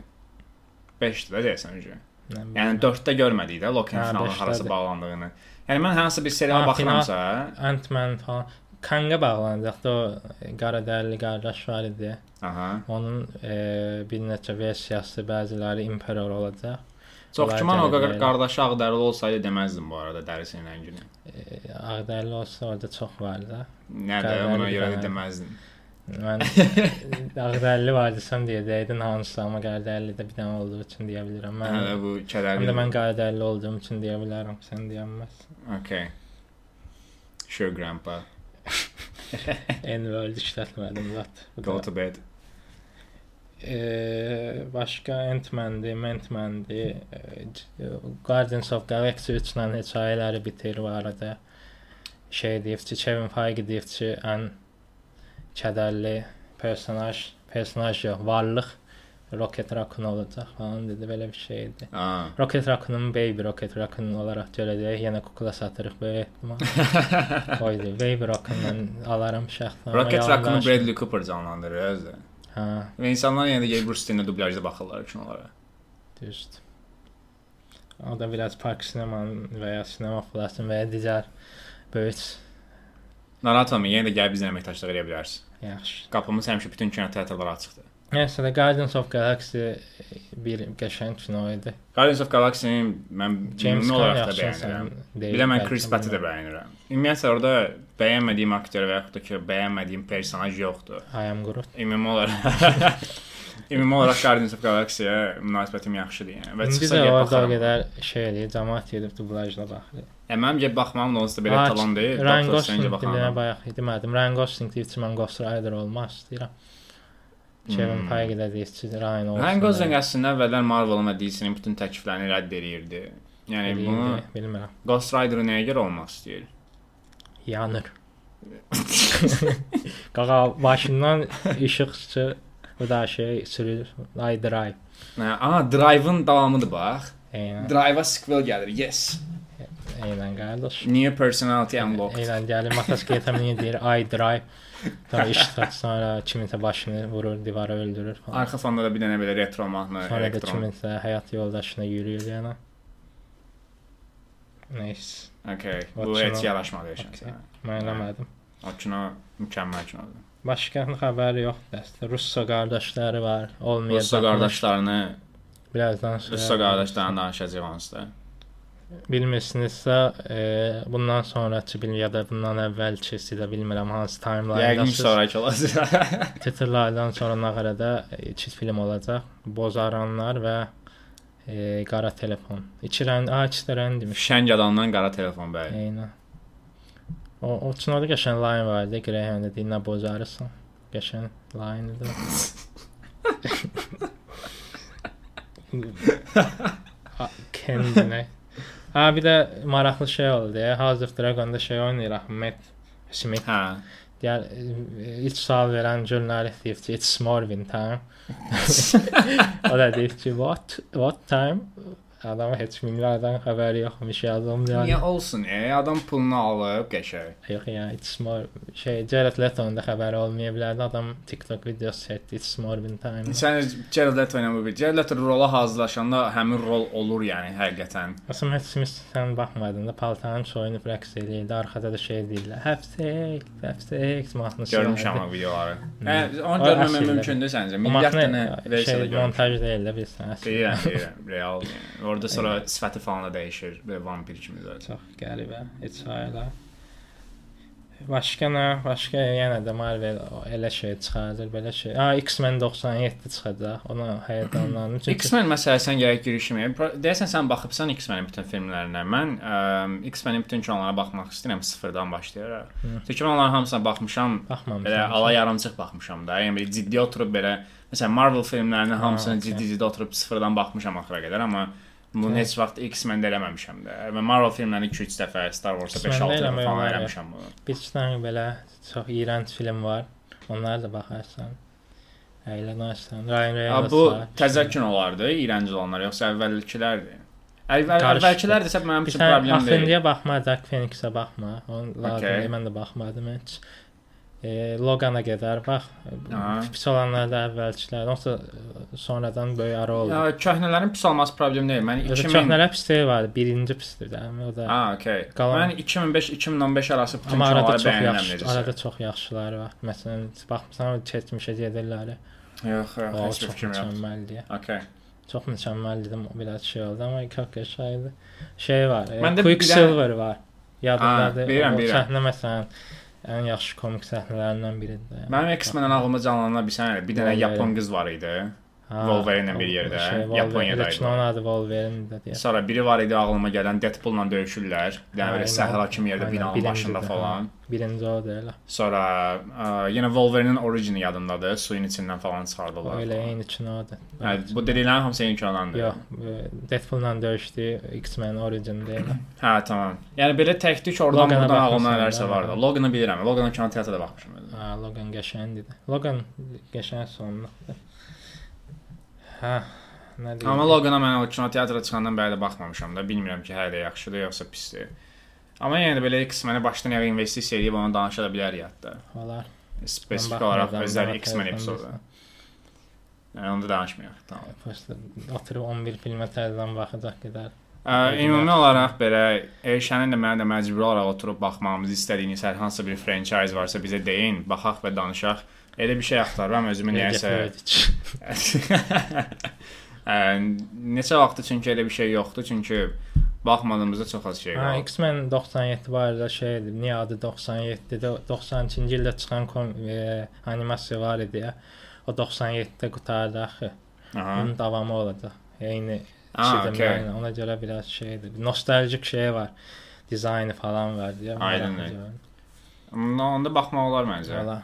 Speaker 1: 5-dir də deyəsən öncə.
Speaker 2: Nə bileyim.
Speaker 1: Yəni 4-də görmədik də Loki-nin
Speaker 2: Hə,
Speaker 1: finalına harasa
Speaker 2: 5-dədir.
Speaker 1: bağlandığını. Yəni mən hansısa bir seriala
Speaker 2: Ha,
Speaker 1: baxıramsa,
Speaker 2: Ant-Man falan. Kanga bağlanacaqdı o qara dərli qardaş var idi.
Speaker 1: aha.
Speaker 2: Onun e, bir neçə versiyası bəziləri imperator olacaq.
Speaker 1: Çox
Speaker 2: Olay
Speaker 1: güman o
Speaker 2: gələ
Speaker 1: qar-
Speaker 2: bilər.
Speaker 1: qardaşı ağdərli olsaydı deməzdim bu arada dərsin rəngini.
Speaker 2: E, Ağdərli olsa orada çox var da.
Speaker 1: Nə də
Speaker 2: Qardaşı
Speaker 1: ona görə
Speaker 2: bir
Speaker 1: də
Speaker 2: dənə.
Speaker 1: deməzdim.
Speaker 2: Mən Ağdərli var desəm deyə deyidin hansısa amma Qaradərli də bir dənə olduğu üçün deyə bilirəm. Mən
Speaker 1: Hələ bu
Speaker 2: Həm də
Speaker 1: kədərli.
Speaker 2: mən qaydəli olduğum üçün deyə bilərəm, sən deyə bilməzsən.
Speaker 1: Okay. Sure grandpa.
Speaker 2: N-word işlətmədim zət. Bu da-
Speaker 1: Go to bed.
Speaker 2: Eee, başqa Ant-Man-di, Ant-Man-di, eh, Guardians of Galaxy 3 ilə hekayələri bitir bu arada. Şey deyib ki, Kevin Feige deyib ki, ən kədərli personaj, personaj yox, varlıq Rocket Raccoon olacaq falan dedi, belə bir şey idi.
Speaker 1: Aa.
Speaker 2: Rocket Raccoon-un Baby Rocket Raccoon olaraq görəcək, yenə kukla satırıq böyük ehtimal. Oydu, Baby Raccoon-dan alaram şəxsən.
Speaker 1: Rocket Raccoon Bradley Cooper canlandırır özü.
Speaker 2: Hə,
Speaker 1: Və insanlar yenə də Bruce Lee-nə dublyajda baxırlar üçün onlara.
Speaker 2: Düzdür. O da biraz Park Sinema'nın və ya Sinema Plus-ın və ya digər böyük
Speaker 1: Narahat olma, yenə də gəlib bizlə əməkdaşlıq edə bilərsən.
Speaker 2: yaxşı.
Speaker 1: Qapımız həmişə bütün kino teatrları açıqdır.
Speaker 2: Nəsə də Guardians of Galaxy bir qəşəng kino idi.
Speaker 1: Guardians of Galaxy-ni mən
Speaker 2: James
Speaker 1: ümumi
Speaker 2: Gunn
Speaker 1: olaraq da
Speaker 2: yaxşı
Speaker 1: bəyənirəm.
Speaker 2: insan deyil.
Speaker 1: Bilə mən
Speaker 2: bəlkə,
Speaker 1: Chris Pratt-ı da
Speaker 2: bilmirəm.
Speaker 1: bəyənirəm. Ümumiyyətlə orada bəyənmədiyim aktyor və yaxud da ki, bəyənmədiyim personaj yoxdur.
Speaker 2: I am Groot.
Speaker 1: Ümumi olaraq Ümumi olaraq Guardians of eh, Galaxy-yə münasibətim yaxşıdır yəni. Və
Speaker 2: İndi
Speaker 1: çıxsa
Speaker 2: də
Speaker 1: gəlib
Speaker 2: orada o
Speaker 1: baxaram.
Speaker 2: qədər şey eləyir, cəmaət edib dublajla baxır.
Speaker 1: Əməm gəlib baxmam da onsuz da belə
Speaker 2: Ha,
Speaker 1: talon deyil. Doctor
Speaker 2: Ryan
Speaker 1: Strange-ə
Speaker 2: Gosling ilə
Speaker 1: baxanlar.
Speaker 2: bayaq demədim. Ryan Gosling deyir ki, mən Ghost Rider olmaq istəyirəm. Kevin
Speaker 1: Hmm.
Speaker 2: Feige də deyir ki, Ryan olsun.
Speaker 1: Ryan Gosling əslində əvvəllər Marvel-ın və DC-nin bütün təkliflərini rədd edirdi. Yəni
Speaker 2: Eləyir
Speaker 1: bunu
Speaker 2: deyə, bilmirəm.
Speaker 1: Ghost Rider nəyə görə olmaq istəyir?
Speaker 2: Yanır. Qaqa başından işıq çıxır. Bu da şey sürür. Ay drive.
Speaker 1: Hə, aha, Drive-ın davamıdır bax.
Speaker 2: Eynən,
Speaker 1: Drive-a sequel gəlir. Yes.
Speaker 2: eynən qardaş.
Speaker 1: New personality unlocked.
Speaker 2: Eynən gəlir. Mataskeytə niyə deyir ay drive. Sonra işıq sonra kiminsə başını vurur, divara öldürür falan.
Speaker 1: Arxa fonda da bir dənə belə retro mahnı,
Speaker 2: Sonra da
Speaker 1: elektron.
Speaker 2: kiminsə həyat yoldaşına yürüyür yana. Neyse,
Speaker 1: Okay. Bu
Speaker 2: Watch
Speaker 1: heç
Speaker 2: out.
Speaker 1: yaraşmadı eşəksə.
Speaker 2: mən eləmədim.
Speaker 1: O kino mükəmməl kinodur.
Speaker 2: Başqa xəbər yoxdur əslində. Russo qardaşları var. Olmayacaq.
Speaker 1: Russo qardaşlarını,
Speaker 2: Birazdan sonra.
Speaker 1: Russo qardaşlarını danışacağıq onsuz da.
Speaker 2: Bilmirsinizsə, e, bundan sonrakı bil ya da bundan əvvəlki sizə bilmirəm hansı
Speaker 1: Yəqin
Speaker 2: timeline-dasınız.
Speaker 1: sonrakı olacaq.
Speaker 2: Titrlərdən sonra Nağarədə iki film olacaq. Bozaranlar və e, Qara telefon. 2 rənd, a, 2 rənd demiş.
Speaker 1: Şəng adamdan qara telefon bəy.
Speaker 2: Eynə. O o çınarda qəşəng line var idi. Graham dedi, "Nə bozarırsan?" Qəşəng line idi. Ha, Kendine. Ha bir də maraqlı şey oldu. ya. House of Dragon-da şey oynayır Ahmet Smith.
Speaker 1: Hə.
Speaker 2: Deyər, e, ilk sual verən jurnalist deyir ki, it's Morvin time. o da deyir ki, what, what time? Adamın heç minlərdən xəbəri yoxmuş yazım. Yəni.
Speaker 1: Niyə olsun? E, adam pulunu alıb qəşəng.
Speaker 2: Yox ya, it's more şey Jared Leto'nun da xəbəri olmaya bilərdi. Adam TikTok videosu çəkdi. It's more been time.
Speaker 1: Sən Jared Leto ilə bu bir Jared Leto rola hazırlaşanda həmin rol olur yəni həqiqətən.
Speaker 2: Aslında Matt Smith sən baxmadın da paltarın soyunub rəqs eləyirdi. Arkada da şey deyirlər. Həftəyik, həftəyik mahnısı.
Speaker 1: Görmüşəm
Speaker 2: vardı.
Speaker 1: o videoları. Hə,
Speaker 2: O
Speaker 1: onu görməmək
Speaker 2: əsirlər.
Speaker 1: mümkündür səncə?
Speaker 2: O
Speaker 1: Milyard dənə
Speaker 2: mahnı
Speaker 1: versiya
Speaker 2: şey
Speaker 1: da görmüşəm.
Speaker 2: montaj deyil də bilirsən. əslində.
Speaker 1: Deyirəm, deyirəm, real. Yəni. Orada sonra sifəti falan da dəyişir, belə vampir kimi də.
Speaker 2: Çox qəribə. Heç ayla. Başqa nə? Başqa yenə də Marvel o- elə şey çıxardır, belə şey. Ha, Ah, X-Men 97 çıxacaq. Ona həyəcanlandım. Çünki
Speaker 1: X-Men məsələsən gərək girişməyə. Pro- Deyəsən sən baxıbsan X-Menin bütün filmlərinə. Mən ə, X-Menin bütün onlara baxmaq istəyirəm sıfırdan başlayaraq.
Speaker 2: Hı.
Speaker 1: Təkin onların hamısına baxmışam.
Speaker 2: baxmamışam.
Speaker 1: Belə ala yarımçıq baxmışam da. Yəni belə ciddi oturub belə məsələn Marvel filmlərinin
Speaker 2: Ha,
Speaker 1: hamısını
Speaker 2: okey.
Speaker 1: ciddi-ciddi oturub sıfırdan baxmışam axıra qədər, amma bunu
Speaker 2: Okey.
Speaker 1: heç vaxt X-Men-də eləməmişəm də. Və Marvel filmlərini 2-3 dəfə, Star Wars-a
Speaker 2: X-Men-də
Speaker 1: 5-6 dəfə
Speaker 2: eləmək
Speaker 1: falan
Speaker 2: olar,
Speaker 1: eləmişəm bunu.
Speaker 2: Bir iki dənə belə çox iyrənc film var. Onlara da baxarsan. Əylənərsən. Ryan
Speaker 1: Ha,
Speaker 2: Reynolds.
Speaker 1: bu
Speaker 2: var.
Speaker 1: təzə kinolardı, iyrənc olanlar, yoxsa əvvəlkilərdir? Əvvəl,
Speaker 2: Qarışdı.
Speaker 1: əvvəlkilər desə mənim
Speaker 2: Bir
Speaker 1: üçün
Speaker 2: sən
Speaker 1: problem deyil.
Speaker 2: Axındiyə baxma, Dark Phoenix-ə baxma. Onun lazım
Speaker 1: Okey.
Speaker 2: okay. mən də baxmadım heç. E, Logan-a qədər bax.
Speaker 1: Aha.
Speaker 2: Pis olanlar da əvvəlkilər. Yoxsa e, sonradan böyük ara oldu.
Speaker 1: Ya köhnələrin pis olması problem deyil. Mən
Speaker 2: Özü
Speaker 1: 2000
Speaker 2: çəhnələr pisliyi vardı. Birinci pisdir də. O da.
Speaker 1: Ha, okey.
Speaker 2: Qalan-
Speaker 1: Mən 2005-2015 arası bütün
Speaker 2: Amma arada
Speaker 1: kinoları
Speaker 2: çox
Speaker 1: bəyənirəm
Speaker 2: yaxşı,
Speaker 1: necəsə.
Speaker 2: arada çox yaxşıları var. Məsələn, baxmısan keçmişə gedirlər.
Speaker 1: Yox,
Speaker 2: O
Speaker 1: yox, heç bir
Speaker 2: çox
Speaker 1: fikrim yox.
Speaker 2: mükəmməldir.
Speaker 1: Okey.
Speaker 2: Çox mükəmməl dedim biraz şey oldu ama çok yaşaydı. Şey var, e,
Speaker 1: Məndə bir
Speaker 2: Quicksilver var.
Speaker 1: Ha,
Speaker 2: Yadımdadır.
Speaker 1: bilirəm,
Speaker 2: O
Speaker 1: bilirəm.
Speaker 2: səhnə məsələn ən yaxşı komik səhnələrindən biridir.
Speaker 1: Mənim X-Men-in ağlıma canlanan bir sənə bir dənə
Speaker 2: Vallahi.
Speaker 1: yapon qız var idi.
Speaker 2: Ha,
Speaker 1: Wolverine-lə bir
Speaker 2: o-
Speaker 1: yerdə,
Speaker 2: şey,
Speaker 1: Yaponiyadaydı.
Speaker 2: Yaponiyadaydı. Kinonun adı Wolverine-dir deyə.
Speaker 1: Sonra biri var idi ağlıma gələn Deadpool-la döyüşürlər. Bir dənə
Speaker 2: Aynen.
Speaker 1: belə səhra kimi yerdə
Speaker 2: Aynen,
Speaker 1: binanın
Speaker 2: birinci
Speaker 1: başında
Speaker 2: də,
Speaker 1: falan.
Speaker 2: ha. Birinci odur elə.
Speaker 1: Sonra ə, yenə Wolverine-in origini yadımdadır. Suyun içindən falan çıxardılar.
Speaker 2: Elə eyni kinodur.
Speaker 1: Hə, bu dediklərin hamısı eyni kənandır.
Speaker 2: Yox, Deadpool-la döyüşdü X-Men Origin-də elə.
Speaker 1: Hə, tamam. Yəni belə tək-tük oradan
Speaker 2: Logan-a
Speaker 1: buradan ağlıma
Speaker 2: baxmısan,
Speaker 1: nələrsə
Speaker 2: hə.
Speaker 1: var da. Logan-ı bilirəm. Logan-ın kino teatrda baxmışam. mən.
Speaker 2: Ha, Logan qəşəngdir. də. Logan qəşəng sonluqdur. Hə, nə deyim?
Speaker 1: Amma Logan-a mən o kino teatra çıxandan bəri də baxmamışam da. Bilmirəm ki, hələ yaxşıdır yoxsa pisdir. Amma yəni də belə X-Men-ə başdan yağı investisiya edib onu danışa da bilərik hətta.
Speaker 2: olar.
Speaker 1: Spesifik
Speaker 2: Mən
Speaker 1: olaraq
Speaker 2: baxmadım,
Speaker 1: özəl
Speaker 2: daha
Speaker 1: X-Men
Speaker 2: tərəfdən
Speaker 1: epizodu. Yəni onu da danışmayaq. Tamam.
Speaker 2: Prosta oturub 11 filmə tərəfdən baxacaq gedər.
Speaker 1: Ə, ümumi olaraq belə Elşənin də mənə də məcbur olaraq oturub baxmamızı istədiyiniz hər hansı bir franchise varsa bizə deyin, baxaq və danışaq. Elə bir şey axtarıram özümü nəyəsə. şey Ə, neçə vaxtı çünki elə bir şey yoxdur, çünki baxmadığımızda çox az şey
Speaker 2: Ha,
Speaker 1: var.
Speaker 2: X-Men 97 var da şey idi. Niyə adı 97-də 92-ci ildə çıxan kom, e, animasiya var idi ya. O 97-də qutardı axı.
Speaker 1: Aha.
Speaker 2: Onun davamı olacaq. Eyni
Speaker 1: Ha,
Speaker 2: şeydə
Speaker 1: okey.
Speaker 2: okay. ona görə biraz şeydir. Nostaljik şey var. Dizaynı falan var deyə.
Speaker 1: Aynen
Speaker 2: maraqlı
Speaker 1: öyle.
Speaker 2: görünür.
Speaker 1: Onda onda baxmaq olar məncə.
Speaker 2: Valla.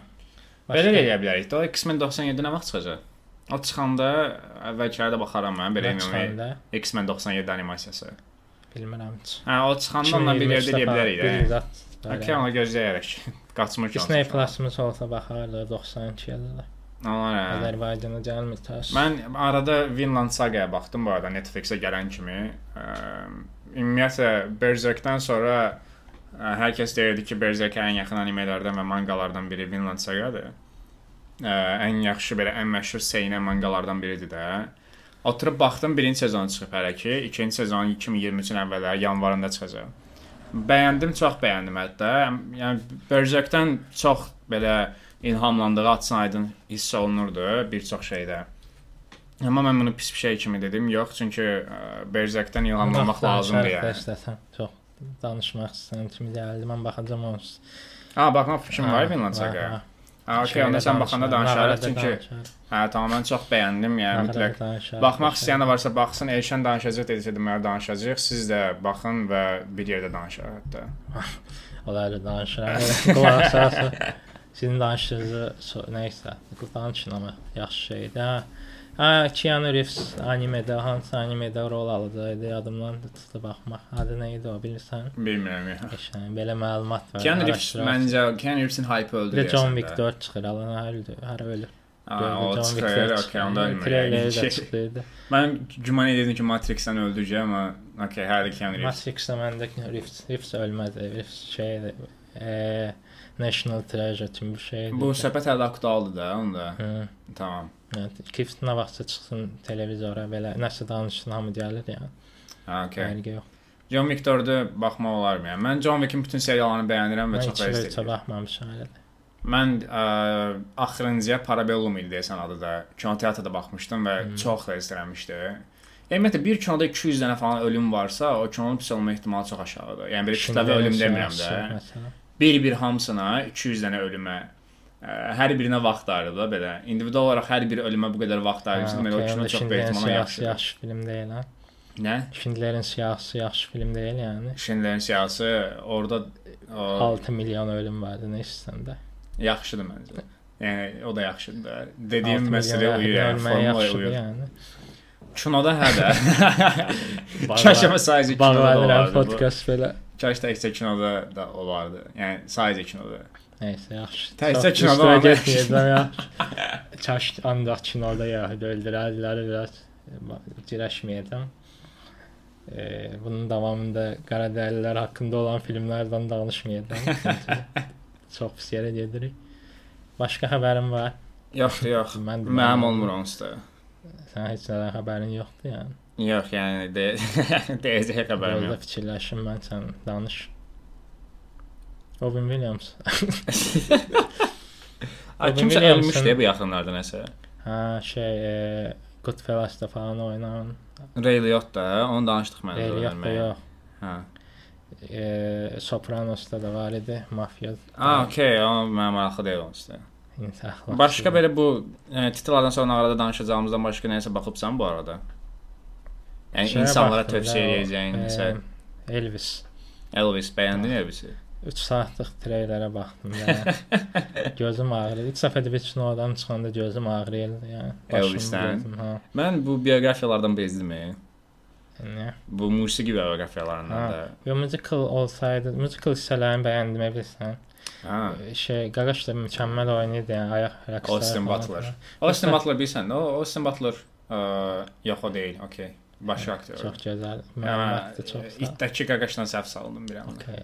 Speaker 1: Belə də eləyə bilərik. də. O X-Men 97 nə vaxt çıxacaq? O çıxanda eh, əvvəlkilərə də baxaram mən belə ümumi
Speaker 2: çıxanda
Speaker 1: eh, X-Men 97 animasiyası.
Speaker 2: bilmirəm. heç.
Speaker 1: Hə, o çıxanda onunla bir
Speaker 2: 2023-də
Speaker 1: yerdə eləyə
Speaker 2: falan
Speaker 1: bilərik
Speaker 2: bir
Speaker 1: də.
Speaker 2: zat var,
Speaker 1: Okey,
Speaker 2: yəni.
Speaker 1: ona gözləyərək. Qaçmır ki.
Speaker 2: Disney Plus-ımız olsa baxarlar 92 yıllar.
Speaker 1: Onlar.
Speaker 2: Azərbaycana gəlmir təəssüf.
Speaker 1: Mən arada Vinland Saga-ya baxdım bu arada Netflix-ə gələn kimi. Əm, Ümumiyyətlə Berserk-dən sonra ə, hər kəs deyirdi eh, ki, Berserk ən yaxın animelərdən və manqalardan biri Vinland Eh, Saga-dır. Ə, Ən yaxşı belə ən məşhur seinen manqalardan biridir də. Oturub baxdım, birinci sezonu çıxıb hələ ki, ikinci sezon 2023-ün əvvəli yanvarında çıxacaq. Bəyəndim, çox bəyəndim hətta. Yəni Berserk-dən çox belə ilhamlandığı açınaydın hiss olunurdu bir çox şeydə. Amma mən bunu pis bir şey kimi dedim. Yox, çünki ə, Berserk-dən ilhamlanmaq
Speaker 2: Baxdan
Speaker 1: lazımdır
Speaker 2: şərh
Speaker 1: yəni.
Speaker 2: dəstəsən. Çox danışmaq istəyən kimi gəldi. Mən baxacam onsuz.
Speaker 1: Ha, baxma fikrim
Speaker 2: Ah,
Speaker 1: var Vinland
Speaker 2: Ha,
Speaker 1: Saga.
Speaker 2: ha.
Speaker 1: Ha, okey,
Speaker 2: Şeylə
Speaker 1: onda sən baxanda danışarıq
Speaker 2: Nağarada
Speaker 1: çünki
Speaker 2: danışarıq,
Speaker 1: hə, tamam, mən çox bəyəndim, yəni
Speaker 2: nağarada
Speaker 1: mütləq
Speaker 2: danışarıq,
Speaker 1: Baxmaq
Speaker 2: başqa-
Speaker 1: istəyən də varsa baxsın, Elşən danışacaq desə də mənə danışacaq. Siz də baxın və bir yerdə danışaq hətta.
Speaker 2: Olayla danışıram. Qulaq asarsa sizin danışdığınızı so- nəysə, danışın amma yaxşı şeydir. Hə. Hə, Keanu Reeves animedə, hansı animedə rol alacaqdı? Yadımdan da çıxdı baxmaq. Adı nə idi o, bilirsən?
Speaker 1: Bilmirəm. ya.
Speaker 2: Qəşəng, belə məlumat var.
Speaker 1: Keanu Reeves
Speaker 2: araşdırarsan.
Speaker 1: məncə Keanu Reeves-in hype öldü.
Speaker 2: Hə, Bir də John
Speaker 1: deyəsən
Speaker 2: Wick
Speaker 1: də.
Speaker 2: 4 çıxır, alan hər hər ölür.
Speaker 1: Ha,
Speaker 2: Gördüm,
Speaker 1: O
Speaker 2: John Wick
Speaker 1: çıxır,
Speaker 2: 4
Speaker 1: okey, onda
Speaker 2: çıxır. Traileri də
Speaker 1: ölmürəm.
Speaker 2: çıxdı.
Speaker 1: Mən güman edirdim ki, Matrix-dən öldürəcək, amma okey, hələ də Keanu Reeves.
Speaker 2: Matrix-də məndə Rift, Rift ölmədi. Rift şeydir. E, National Treasure kimi bir şeydir.
Speaker 1: Bu söhbət hələ də aktualdır da, onda.
Speaker 2: Hı.
Speaker 1: Tamam.
Speaker 2: Yəni Rift nə vaxtsa çıxsın televizora belə nəsə danışsın hamı gəlir yəni.
Speaker 1: Ha, okey.
Speaker 2: Fərqi yox.
Speaker 1: John Wick 4-ü baxmaq olar mı? yəni? Mən John Wick-in bütün seriallarını bəyənirəm və
Speaker 2: Mən
Speaker 1: çox
Speaker 2: heç
Speaker 1: rəis
Speaker 2: bir
Speaker 1: edirəm.
Speaker 2: baxmamışam elə. də.
Speaker 1: Mən ə, axırıncıya Parabellum idi desən adı da. Kino teatrda baxmışdım və hmm. çox rəzilənmişdi. Ümumiyyətlə bir kinoda 200 dənə falan ölüm varsa, o kinonun pis olma ehtimalı çox aşağıdır. Yəni belə kütləvi
Speaker 2: Kimdən
Speaker 1: ölüm
Speaker 2: isə
Speaker 1: demirəm də.
Speaker 2: yaxşı, məsələn.
Speaker 1: Bir-bir hamısına 200 dənə ölümə ə, hər birinə vaxt ayırdı da belə. İndividual olaraq hər bir ölümə bu qədər vaxt
Speaker 2: Ha,
Speaker 1: ayırırsan,
Speaker 2: okey,
Speaker 1: belə o kino
Speaker 2: onda
Speaker 1: çox
Speaker 2: Schindlerin
Speaker 1: böyük ehtimalla
Speaker 2: siyahısı
Speaker 1: yaxşıdır.
Speaker 2: yaxşı film deyil ha.
Speaker 1: Nə?
Speaker 2: Şindlerin siyahısı yaxşı film deyil yəni.
Speaker 1: Şindlerin siyahısı orada o,
Speaker 2: 6 milyon ölüm vardı nə istəndə.
Speaker 1: yaxşıdır məncə. Yəni o da yaxşıdır. da. Dediyim
Speaker 2: Altı
Speaker 1: məsələ
Speaker 2: milyon
Speaker 1: uyur, yəni
Speaker 2: ölməyə
Speaker 1: formula
Speaker 2: yaxşıdır
Speaker 1: uyur.
Speaker 2: Yəni.
Speaker 1: Kinoda hə də. Kaş amma sadəcə kinoda da
Speaker 2: Bağlanıram
Speaker 1: olardı. bu.
Speaker 2: podkast belə.
Speaker 1: Kaş təkcə kinoda da olardı. Yəni sadəcə kinoda.
Speaker 2: Nəysə yaxşı.
Speaker 1: Təkcə
Speaker 2: Çox
Speaker 1: kinoda
Speaker 2: üstüne
Speaker 1: olmaq
Speaker 2: getməyəcəm ya. Çaş ancaq kinoda ya öldürərdilər biraz girəşməyəcəm. Ee, bunun davamında qara dəlilər haqqında olan filmlərdən danışmayacağam. Çünki Çox pis yerə gedirik. Başqa xəbərim var.
Speaker 1: Yox, yox.
Speaker 2: Mən
Speaker 1: Mənim olmur onsuz da.
Speaker 2: Sən heç nədən xəbərin yoxdur yəni.
Speaker 1: Yox, yəni de deyəcək xəbərim
Speaker 2: Orada
Speaker 1: yox.
Speaker 2: fikirləşim mən sən danış. Robin Williams.
Speaker 1: Ay, kimsə
Speaker 2: Robin Williams'ın-
Speaker 1: ölmüşdü bu yaxınlarda nəsə.
Speaker 2: Ha şey e, Goodfellas'da falan oynayan.
Speaker 1: Ray Liotta da, onu danışdıq məndə.
Speaker 2: Elliot da yox.
Speaker 1: Hə.
Speaker 2: E, Sopranos'da da var idi. Mafya.
Speaker 1: Ah, okey, o mənim maraqlı deyil onsuz da.
Speaker 2: İntihar.
Speaker 1: Başqa belə bu e, titrlərdən sonra arada danışacağımızdan başqa nəyisə baxıbsan bu arada? Yəni
Speaker 2: Şeyə
Speaker 1: insanlara
Speaker 2: baxdım da,
Speaker 1: tövsiyə
Speaker 2: o,
Speaker 1: edəcəyin nəsə
Speaker 2: e, Elvis.
Speaker 1: Elvis bəyəndin Elvisi?
Speaker 2: 3 saatlıq treylərə baxdım da. gözüm ağrıyır. İlk səfər bir kinodan çıxanda gözüm ağrıyır. Yəni başım
Speaker 1: Elvisdən?
Speaker 2: gözüm ha.
Speaker 1: Mən bu bioqrafiyalardan bezdim.
Speaker 2: Yəni.
Speaker 1: Bu musiqi bioqrafiyalarından
Speaker 2: Ha.
Speaker 1: da.
Speaker 2: Yo musical olsaydı, musical hissələrini bəyəndim bilirsən.
Speaker 1: Ha.
Speaker 2: Şey, Qaraş da mükəmməl oynayırdı, yəni ayaq rəqsləri.
Speaker 1: Austin
Speaker 2: falan.
Speaker 1: Butler. Austin
Speaker 2: Yoxsa-
Speaker 1: Butler bilirsən, o Austin Butler ə, yox o deyil, okey. Başqa aktyor.
Speaker 2: Hə, Çox gözəl.
Speaker 1: Amma
Speaker 2: Məlumatdı çox sağ. ol.
Speaker 1: itdəki qaqaşdan səhv saldım bir an.
Speaker 2: Okay.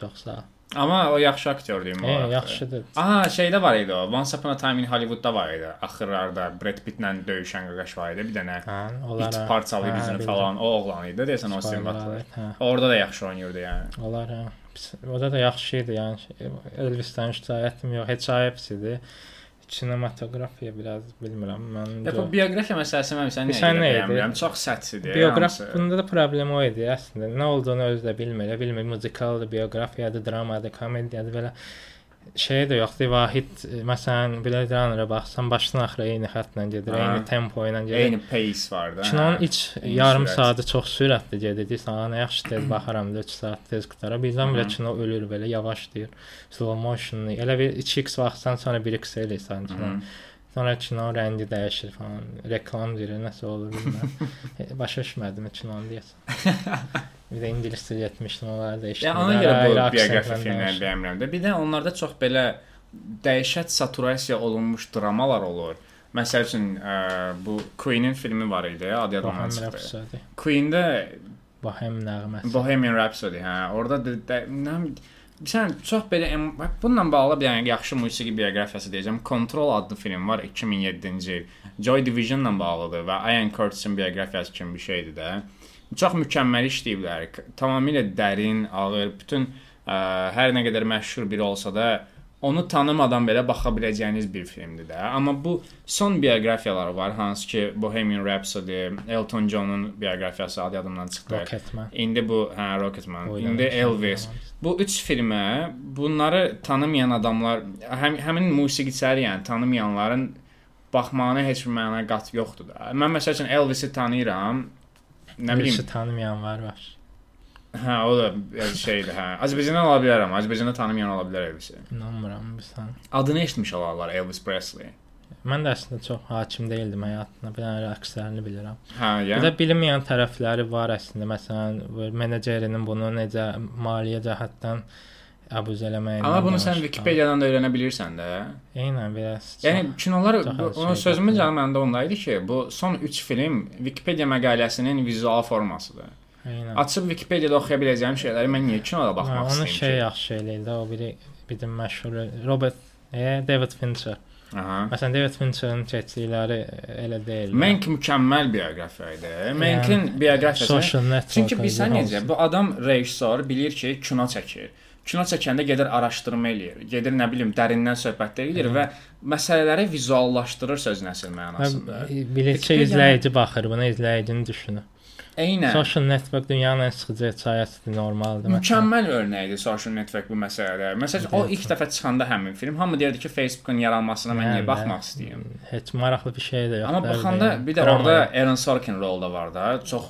Speaker 2: Çox sağ. ol.
Speaker 1: Amma o yaxşı aktyor deyim. o
Speaker 2: E,
Speaker 1: aktyor.
Speaker 2: yaxşıdır.
Speaker 1: Aha, şeydə var idi o. Once Upon a Time in Hollywood-da var idi. Axırlarda Brad Pitt-lə döyüşən qaqaş var idi. Bir dənə
Speaker 2: Hə,
Speaker 1: it
Speaker 2: onlara.
Speaker 1: parçalayıb üzünü falan. O oğlan idi deyəsən Austin Butler. Orada da yaxşı oynayırdı yəni.
Speaker 2: Onlar hə. Pis- O da da yaxşı idi, yəni şey- Elvis-dən şikayətim yox, heç ayıbs idi. Kinematografiya biraz bilmirəm. Mən
Speaker 1: Ya bu bioqrafiya məsələsi mən sən niyə
Speaker 2: Sən nə idi?
Speaker 1: bilmirəm. Çox səthsidir.
Speaker 2: Biyoqraf
Speaker 1: hamısı.
Speaker 2: bunda da problem o idi əslində. Nə olduğunu özü də bilmir. Bilmir musikaldır, bioqrafiyadır, dramadır, komediyadır belə şey də yoxdur. Vahid e, məsələn belə janra baxsan başdan axıra eyni xəttlə gedir,
Speaker 1: Aha.
Speaker 2: eyni tempo ilə gedir.
Speaker 1: eyni pace var da.
Speaker 2: Kinonun
Speaker 1: hə.
Speaker 2: iç
Speaker 1: eyni
Speaker 2: yarım
Speaker 1: sürət.
Speaker 2: saatı çox sürətli gedirdi. Sənə yaxşı tez baxaram da 3 saat tez qutara. Birdən belə
Speaker 1: Hı.
Speaker 2: kino ölür belə yavaşlayır. Slow motion elə bir 2x vaxtdan sonra 1x eləyirsən
Speaker 1: Hı.
Speaker 2: kino. Sonra kinonun rəngi dəyişir falan. Reklam verir, nəsə olur bilmirəm. E, Başa düşmədim kinonu deyəsən. Bir də ingilis dili etmişdim, onları da
Speaker 1: Ya
Speaker 2: eşitdim.
Speaker 1: ona görə
Speaker 2: Ayrı-
Speaker 1: bu
Speaker 2: ayrı
Speaker 1: bioqrafiya
Speaker 2: aksentlə
Speaker 1: filmləri
Speaker 2: danışır.
Speaker 1: bəyənmirəm də. Bir də onlarda çox belə dəhşət saturasiya olunmuş dramalar olur. Məsəl üçün ə, eh, bu Queen-in filmi var idi, adı yadımdan
Speaker 2: Bohem
Speaker 1: çıxdı.
Speaker 2: Rhapsody.
Speaker 1: Queen-də
Speaker 2: Bohem nəğməsi.
Speaker 1: Bohemian Rhapsody, hə, orada də, də, nə bilim, sən çox belə em- bax, bununla bağlı bir yəni yaxşı musiqi bioqrafiyası deyəcəm. Control adlı film var 2007-ci il. Joy Division-la bağlıdır və Ian Curtis-in bioqrafiyası kimi bir şeydir də. Çox mükəmməl işləyiblər. K- Tamamilə dərin, ağır, bütün ə, hər nə qədər məşhur biri olsa da onu tanımadan belə baxa biləcəyiniz bir filmdir də. Amma bu son bioqrafiyalar var, hansı ki Bohemian Rhapsody, Elton John-un bioqrafiyası adı yadımdan çıxdı.
Speaker 2: Rocketman.
Speaker 1: İndi bu hə Rocketman,
Speaker 2: Oynamışam,
Speaker 1: indi Elvis.
Speaker 2: oynamışam.
Speaker 1: Bu üç filmə bunları tanımayan adamlar, həm, həmin musiqiçiləri, yəni tanımayanların baxmağına heç bir məna qat yoxdur da. Mən məsəl üçün Elvisi tanıyıram. Nə bilim,
Speaker 2: Elvisi tanımayan var, var.
Speaker 1: hə o da bir şeydir hə. Azərbaycandan ola bilərəm, Azərbaycanda tanımayan ola bilər Elvisi.
Speaker 2: İnanmıram bu sən.
Speaker 1: Adını eşitmiş olarlar Elvis Presley.
Speaker 2: Mən də əslində çox hakim deyildim həyatına. Bir dənə rəqslərini bilirəm.
Speaker 1: Hə,
Speaker 2: Bir
Speaker 1: yəni.
Speaker 2: də bilinməyən tərəfləri var əslində. Məsələn, bu menecerinin bunu necə maliyyə cəhətdən abuz eləməyini.
Speaker 1: Amma bunu sən Wikipediyadan da öyrənə bilirsən də.
Speaker 2: Eynən belə.
Speaker 1: Yəni kinolar
Speaker 2: çox
Speaker 1: bu-
Speaker 2: az
Speaker 1: onun
Speaker 2: şey
Speaker 1: sözümün
Speaker 2: qatılır.
Speaker 1: canı məndə onda idi ki, bu son 3 film Wikipedia məqaləsinin vizual formasıdır.
Speaker 2: eynən.
Speaker 1: Açıb Wikipediyada oxuya biləcəyim şeyləri mən niyə kinoda
Speaker 2: Ha,
Speaker 1: baxmaq
Speaker 2: Onun
Speaker 1: istəyirəm?
Speaker 2: şey
Speaker 1: Şey...
Speaker 2: yaxşı eləyirdi. O biri bir də məşhur Robert e, David Fincher.
Speaker 1: Aha.
Speaker 2: Məsələn, David Fincherin keçdikləri e, elə deyil.
Speaker 1: Mank mükəmməl bioqrafiya idi. Mankin bioqrafiyası.
Speaker 2: Yəni social network.
Speaker 1: Çünki bilsən necə, bu adam rejissor bilir ki, kino çəkir. Kino çəkəndə gedir araşdırma eləyir, gedir nə bilim dərindən söhbətlər eləyir və məsələləri vizuallaşdırır sözün əsl mənasında.
Speaker 2: Hə, Bilicə
Speaker 1: Wikipedia-
Speaker 2: e, izləyici baxır, buna izləyicini düşünür.
Speaker 1: Eynən.
Speaker 2: Social network dünyanın ən sıxıcı çayəsidir, normaldır. məsələn.
Speaker 1: Mükəmməl örnəyidir social network bu məsələdə. Məsələn, o ilk dəfə çıxanda həmin film hamı deyirdi ki, Facebookun yaranmasına mən
Speaker 2: Yəni,
Speaker 1: niyə baxmaq istəyirəm.
Speaker 2: Heç maraqlı bir şey də yoxdur.
Speaker 1: Amma baxanda bir də orada Aaron Sorkin rolda var da, çox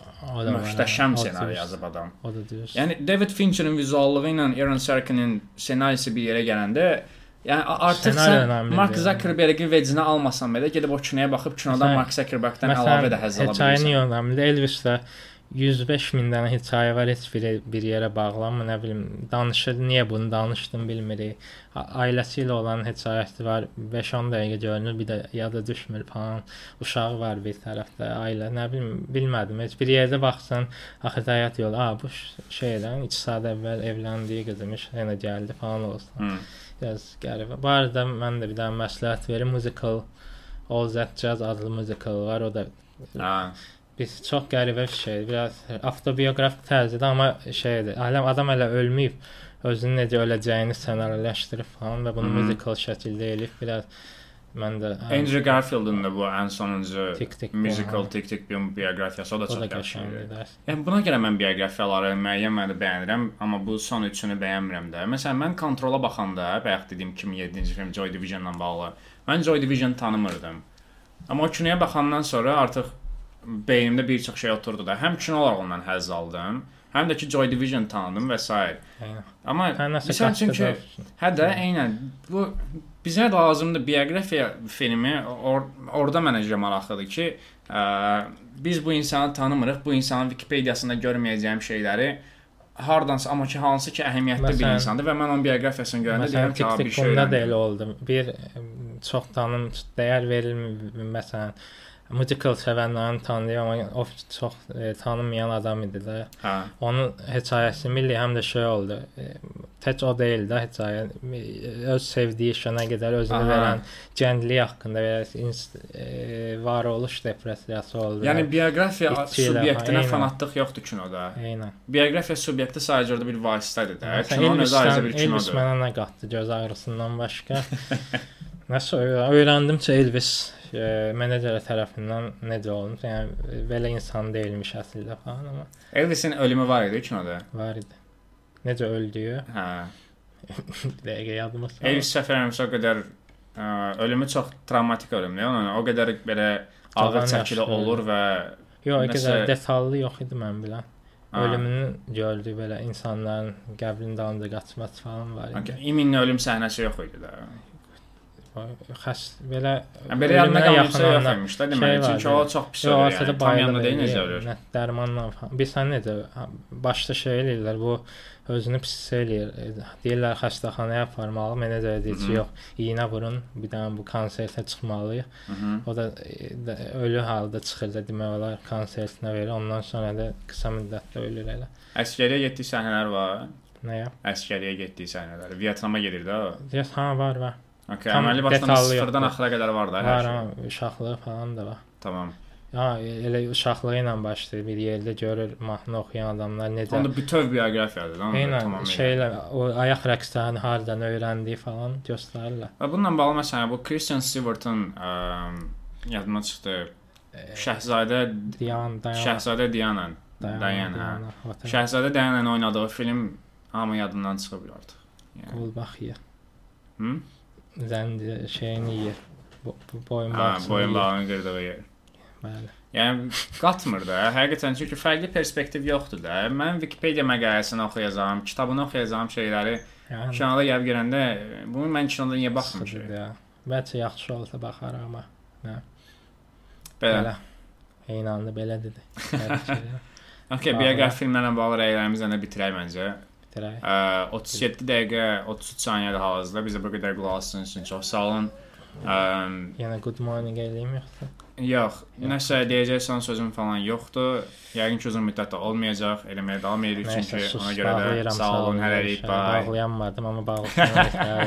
Speaker 1: möhtəşəm senari yazıb adam.
Speaker 2: O da deyir. Yəni
Speaker 1: Yəni David Fincherin vizuallığı ilə Aaron Sorkinin ssenarisi bir yerə gələndə Yəni a- artıq
Speaker 2: Ssenari
Speaker 1: sən
Speaker 2: önəmlidir,
Speaker 1: Mark
Speaker 2: yəni.
Speaker 1: Zuckerbergi vecinə almasan belə gedib o kinoya baxıb kinodan
Speaker 2: Məsələn-
Speaker 1: Mark Zuckerbergdən əlavə
Speaker 2: məsələn,
Speaker 1: də həzz ala
Speaker 2: hekayəni
Speaker 1: bilirsən.
Speaker 2: yönəmli Elvisdə 105 min dənə hekayə var, heç biri bir yerə bağlanmır, nə bilim, danışır, niyə bunu danışdım bilmirik. A- Ailəsi ilə olan hekayəsi var, 5-10 dəqiqə görünür, bir də yada düşmür falan. Uşağı var bir tərəfdə, ailə, nə bilim, bilmədim. Heç bir yerdə baxsan, axı həyat yolu, a, bu ş- şeydən 2 saat əvvəl evləndiyi qızmış, yenə gəldi falan olsun.
Speaker 1: Hı.
Speaker 2: Biraz qəribə. Bu arada mən də bir dənə məsləhət verim. Musical All That Jazz adlı musical var. O da
Speaker 1: Ha.
Speaker 2: biz çox qəribə bir şeydir. Biraz avtobiografik tərzidir, amma şeydir. Aləm adam elə ölməyib, özünün necə öləcəyini ssenariləşdirib falan və bunu
Speaker 1: Mhm.
Speaker 2: musical şəkildə eləyib. Biraz Mən də hə,
Speaker 1: Andrew Garfield'ın da bu ən sonuncu
Speaker 2: Tick Tick Boom,
Speaker 1: musical
Speaker 2: hə.
Speaker 1: Tick Tick Boom bioqrafiyası o da
Speaker 2: o
Speaker 1: çox
Speaker 2: da
Speaker 1: yaxşı idi.
Speaker 2: qəşəngdir.
Speaker 1: Yəni buna görə mən bioqrafiyaları müəyyən məndə bəyənirəm, amma bu son üçünü bəyənmirəm də. Məsələn, mən Control-a baxanda, bayaq dediyim kimi 7-ci film Joy Division-la bağlı. Mən Joy Division tanımırdım. Amma o kinoya baxandan sonra artıq beynimdə bir çox şey oturdu da. Həm kino olaraq ondan həzz aldım, həm də ki Joy Division tanıdım və s.
Speaker 2: Aynen.
Speaker 1: Amma
Speaker 2: Hə, nəsə
Speaker 1: məsəl üçün ki,
Speaker 2: qaçdı da.
Speaker 1: hə də eynən bu bizə lazımdır bioqrafiya filmi. Or orada mənə görə maraqlıdır ki, ə, biz bu insanı tanımırıq. Bu insanın Wikipediyasında görməyəcəyim şeyləri hardansa amma ki hansı ki əhəmiyyətli məsələn, bir
Speaker 2: Məsələn-
Speaker 1: insandır və mən onun bioqrafiyasını görəndə
Speaker 2: Məsələn,
Speaker 1: yəni deyirəm ki,
Speaker 2: Tik
Speaker 1: ha, bir
Speaker 2: Tik
Speaker 1: şey
Speaker 2: Boom-da da
Speaker 1: öyrəndim.
Speaker 2: elə oldu. Bir ə, çox tanım dəyər verilmir. Məsələn, musical sevənlərin tanıyır amma o çox ə, tanınmayan adam idi də.
Speaker 1: Hə.
Speaker 2: Onun hekayəsi milli həm də şey oldu. E, Tək o deyil də hekayə e, öz sevdiyi şənə qədər özünə
Speaker 1: Aha.
Speaker 2: verən gənclik haqqında və ya ins- e, varoluş depressiyası oldu.
Speaker 1: Yəni bioqrafiya
Speaker 2: İçki ilə,
Speaker 1: subyektinə
Speaker 2: eynən.
Speaker 1: fanatlıq yoxdur kinoda.
Speaker 2: eynən.
Speaker 1: Bioqrafiya subyekti sadəcə orada bir vasitədir də.
Speaker 2: Məsələn,
Speaker 1: Kinonun özü ayrı
Speaker 2: Elvis-dən-
Speaker 1: bir
Speaker 2: Elvis
Speaker 1: kinodur.
Speaker 2: mənə nə qatdı göz ağrısından başqa? Nəsə öyrə- öyrəndim ki, Elvis e, menecer tərəfindən necə olmuş. Yəni e, belə insan deyilmiş əslində falan amma
Speaker 1: Elvisin ölümü var idi kinoda.
Speaker 2: var idi. Necə öldüyü
Speaker 1: Hə.
Speaker 2: bir dəqiqə yadıma saldı.
Speaker 1: Elvis Səfərovsa qədər ə, ölümü çox travmatik ölümdür. Onun o qədər belə ağır
Speaker 2: Qalan
Speaker 1: çəkili
Speaker 2: yaşlı.
Speaker 1: olur və
Speaker 2: Yox, o qədər
Speaker 1: Nəsə-
Speaker 2: detallı yox idi mən bilən.
Speaker 1: Ha.
Speaker 2: Ölümünü gördü belə insanların qəbrinin dalında qaçması falan var idi.
Speaker 1: okay, İminin ölüm səhnəsi yox idi də.
Speaker 2: Okay. Xəs belə
Speaker 1: Yəni belə yadıma
Speaker 2: ölümünə
Speaker 1: qalmışsa yox
Speaker 2: yaxınlananlar-
Speaker 1: imiş də
Speaker 2: şey
Speaker 1: deməli.
Speaker 2: var,
Speaker 1: Çünki o
Speaker 2: yəni.
Speaker 1: çox pis
Speaker 2: Yox,
Speaker 1: ölür.
Speaker 2: ortada
Speaker 1: Yəni. Tam yanında deyil necə
Speaker 2: bayılır.
Speaker 1: ölür.
Speaker 2: Nə dərmanla falan. Bir sən necə ha, başda şey eləyirlər, bu özünü pis hiss eləyir. E, Deyirlər xəstəxanaya aparmalı, mənə də deyir ki,
Speaker 1: Mhm.
Speaker 2: yox, iynə vurun, bir dənə bu konsertə çıxmalıyıq.
Speaker 1: Mhm.
Speaker 2: O da e, də, ölü halda çıxır da demək olar konsertinə verir. Ondan sonra da qısa müddətdə ölür elə.
Speaker 1: Əskəriyə getdiyi səhnələr var.
Speaker 2: Nəyə?
Speaker 1: Əskəriyə getdiyi səhnələr. Vyetnama gedir də o.
Speaker 2: Deyəsən ha var var.
Speaker 1: Okay,
Speaker 2: Tam
Speaker 1: əməli başdan
Speaker 2: detallı
Speaker 1: sıfırdan
Speaker 2: yoxdur.
Speaker 1: axıra qədər var da hər
Speaker 2: Var
Speaker 1: şey.
Speaker 2: ha, uşaqlığı falan da var.
Speaker 1: Tamam.
Speaker 2: Ha, e, elə uşaqlığı ilə başlayır. Bir yerdə görür mahnı oxuyan adamlar necə.
Speaker 1: Onda bütöv bioqrafiyadır da. onun da
Speaker 2: Eynən
Speaker 1: tamamilə.
Speaker 2: şeylə o ayaq rəqslərini hardan öyrəndiyi falan göstərirlər.
Speaker 1: Və bununla bağlı məsələn bu Christian Stewart'ın ə, yadıma çıxdı. Şəhzadə
Speaker 2: E, Diyan, dayan,
Speaker 1: Şəhzadə Diana. Dayan ha.
Speaker 2: ha.
Speaker 1: Şəhzadə Diana oynadığı film hamı yadından çıxıb artıq. Yəni.
Speaker 2: Qol bax yer.
Speaker 1: Hı?
Speaker 2: Zəndi şeyini yer. Bo bo- boyun
Speaker 1: Ha,
Speaker 2: bağçasını yer.
Speaker 1: boyunbağını qırdığı yer.
Speaker 2: Bəli.
Speaker 1: Yəni qatmır da, həqiqətən çünki fərqli perspektiv yoxdur da. Mən Wikipedia məqaləsini oxuyacağam, kitabını oxuyacağam şeyləri
Speaker 2: Yəni
Speaker 1: kinoda gəlib görəndə bunu mən kinoda niyə baxmışam?
Speaker 2: baxmışdı. Bəlkə yaxşı olsa baxarıq amma.
Speaker 1: Belə.
Speaker 2: Belə. Eynanlı belə dedi. Bəli, şeylər.
Speaker 1: Okay,
Speaker 2: Aha.
Speaker 1: bioqrafi filmlərlə bağlı rəylərimizi də bitirək məncə.
Speaker 2: Bitirək.
Speaker 1: Ə, 37 dəqiqə 33 saniyədə hal-hazırda bizə bu qədər qulaq asdığınız üçün çox sağ olun. Əm,
Speaker 2: Yenə good morning eləyim yoxsa?
Speaker 1: Yox, nəsə deyəcəksən sözüm falan yoxdur. Yəqin ki, uzun müddət də olmayacaq. Eləməyə davam edirik
Speaker 2: Nəysə,
Speaker 1: çünki
Speaker 2: sus,
Speaker 1: ona görə də
Speaker 2: bağlayıram,
Speaker 1: sağ olun, hələlik,
Speaker 2: inşallah.
Speaker 1: bye.
Speaker 2: Bağlayamadım amma bağlasam.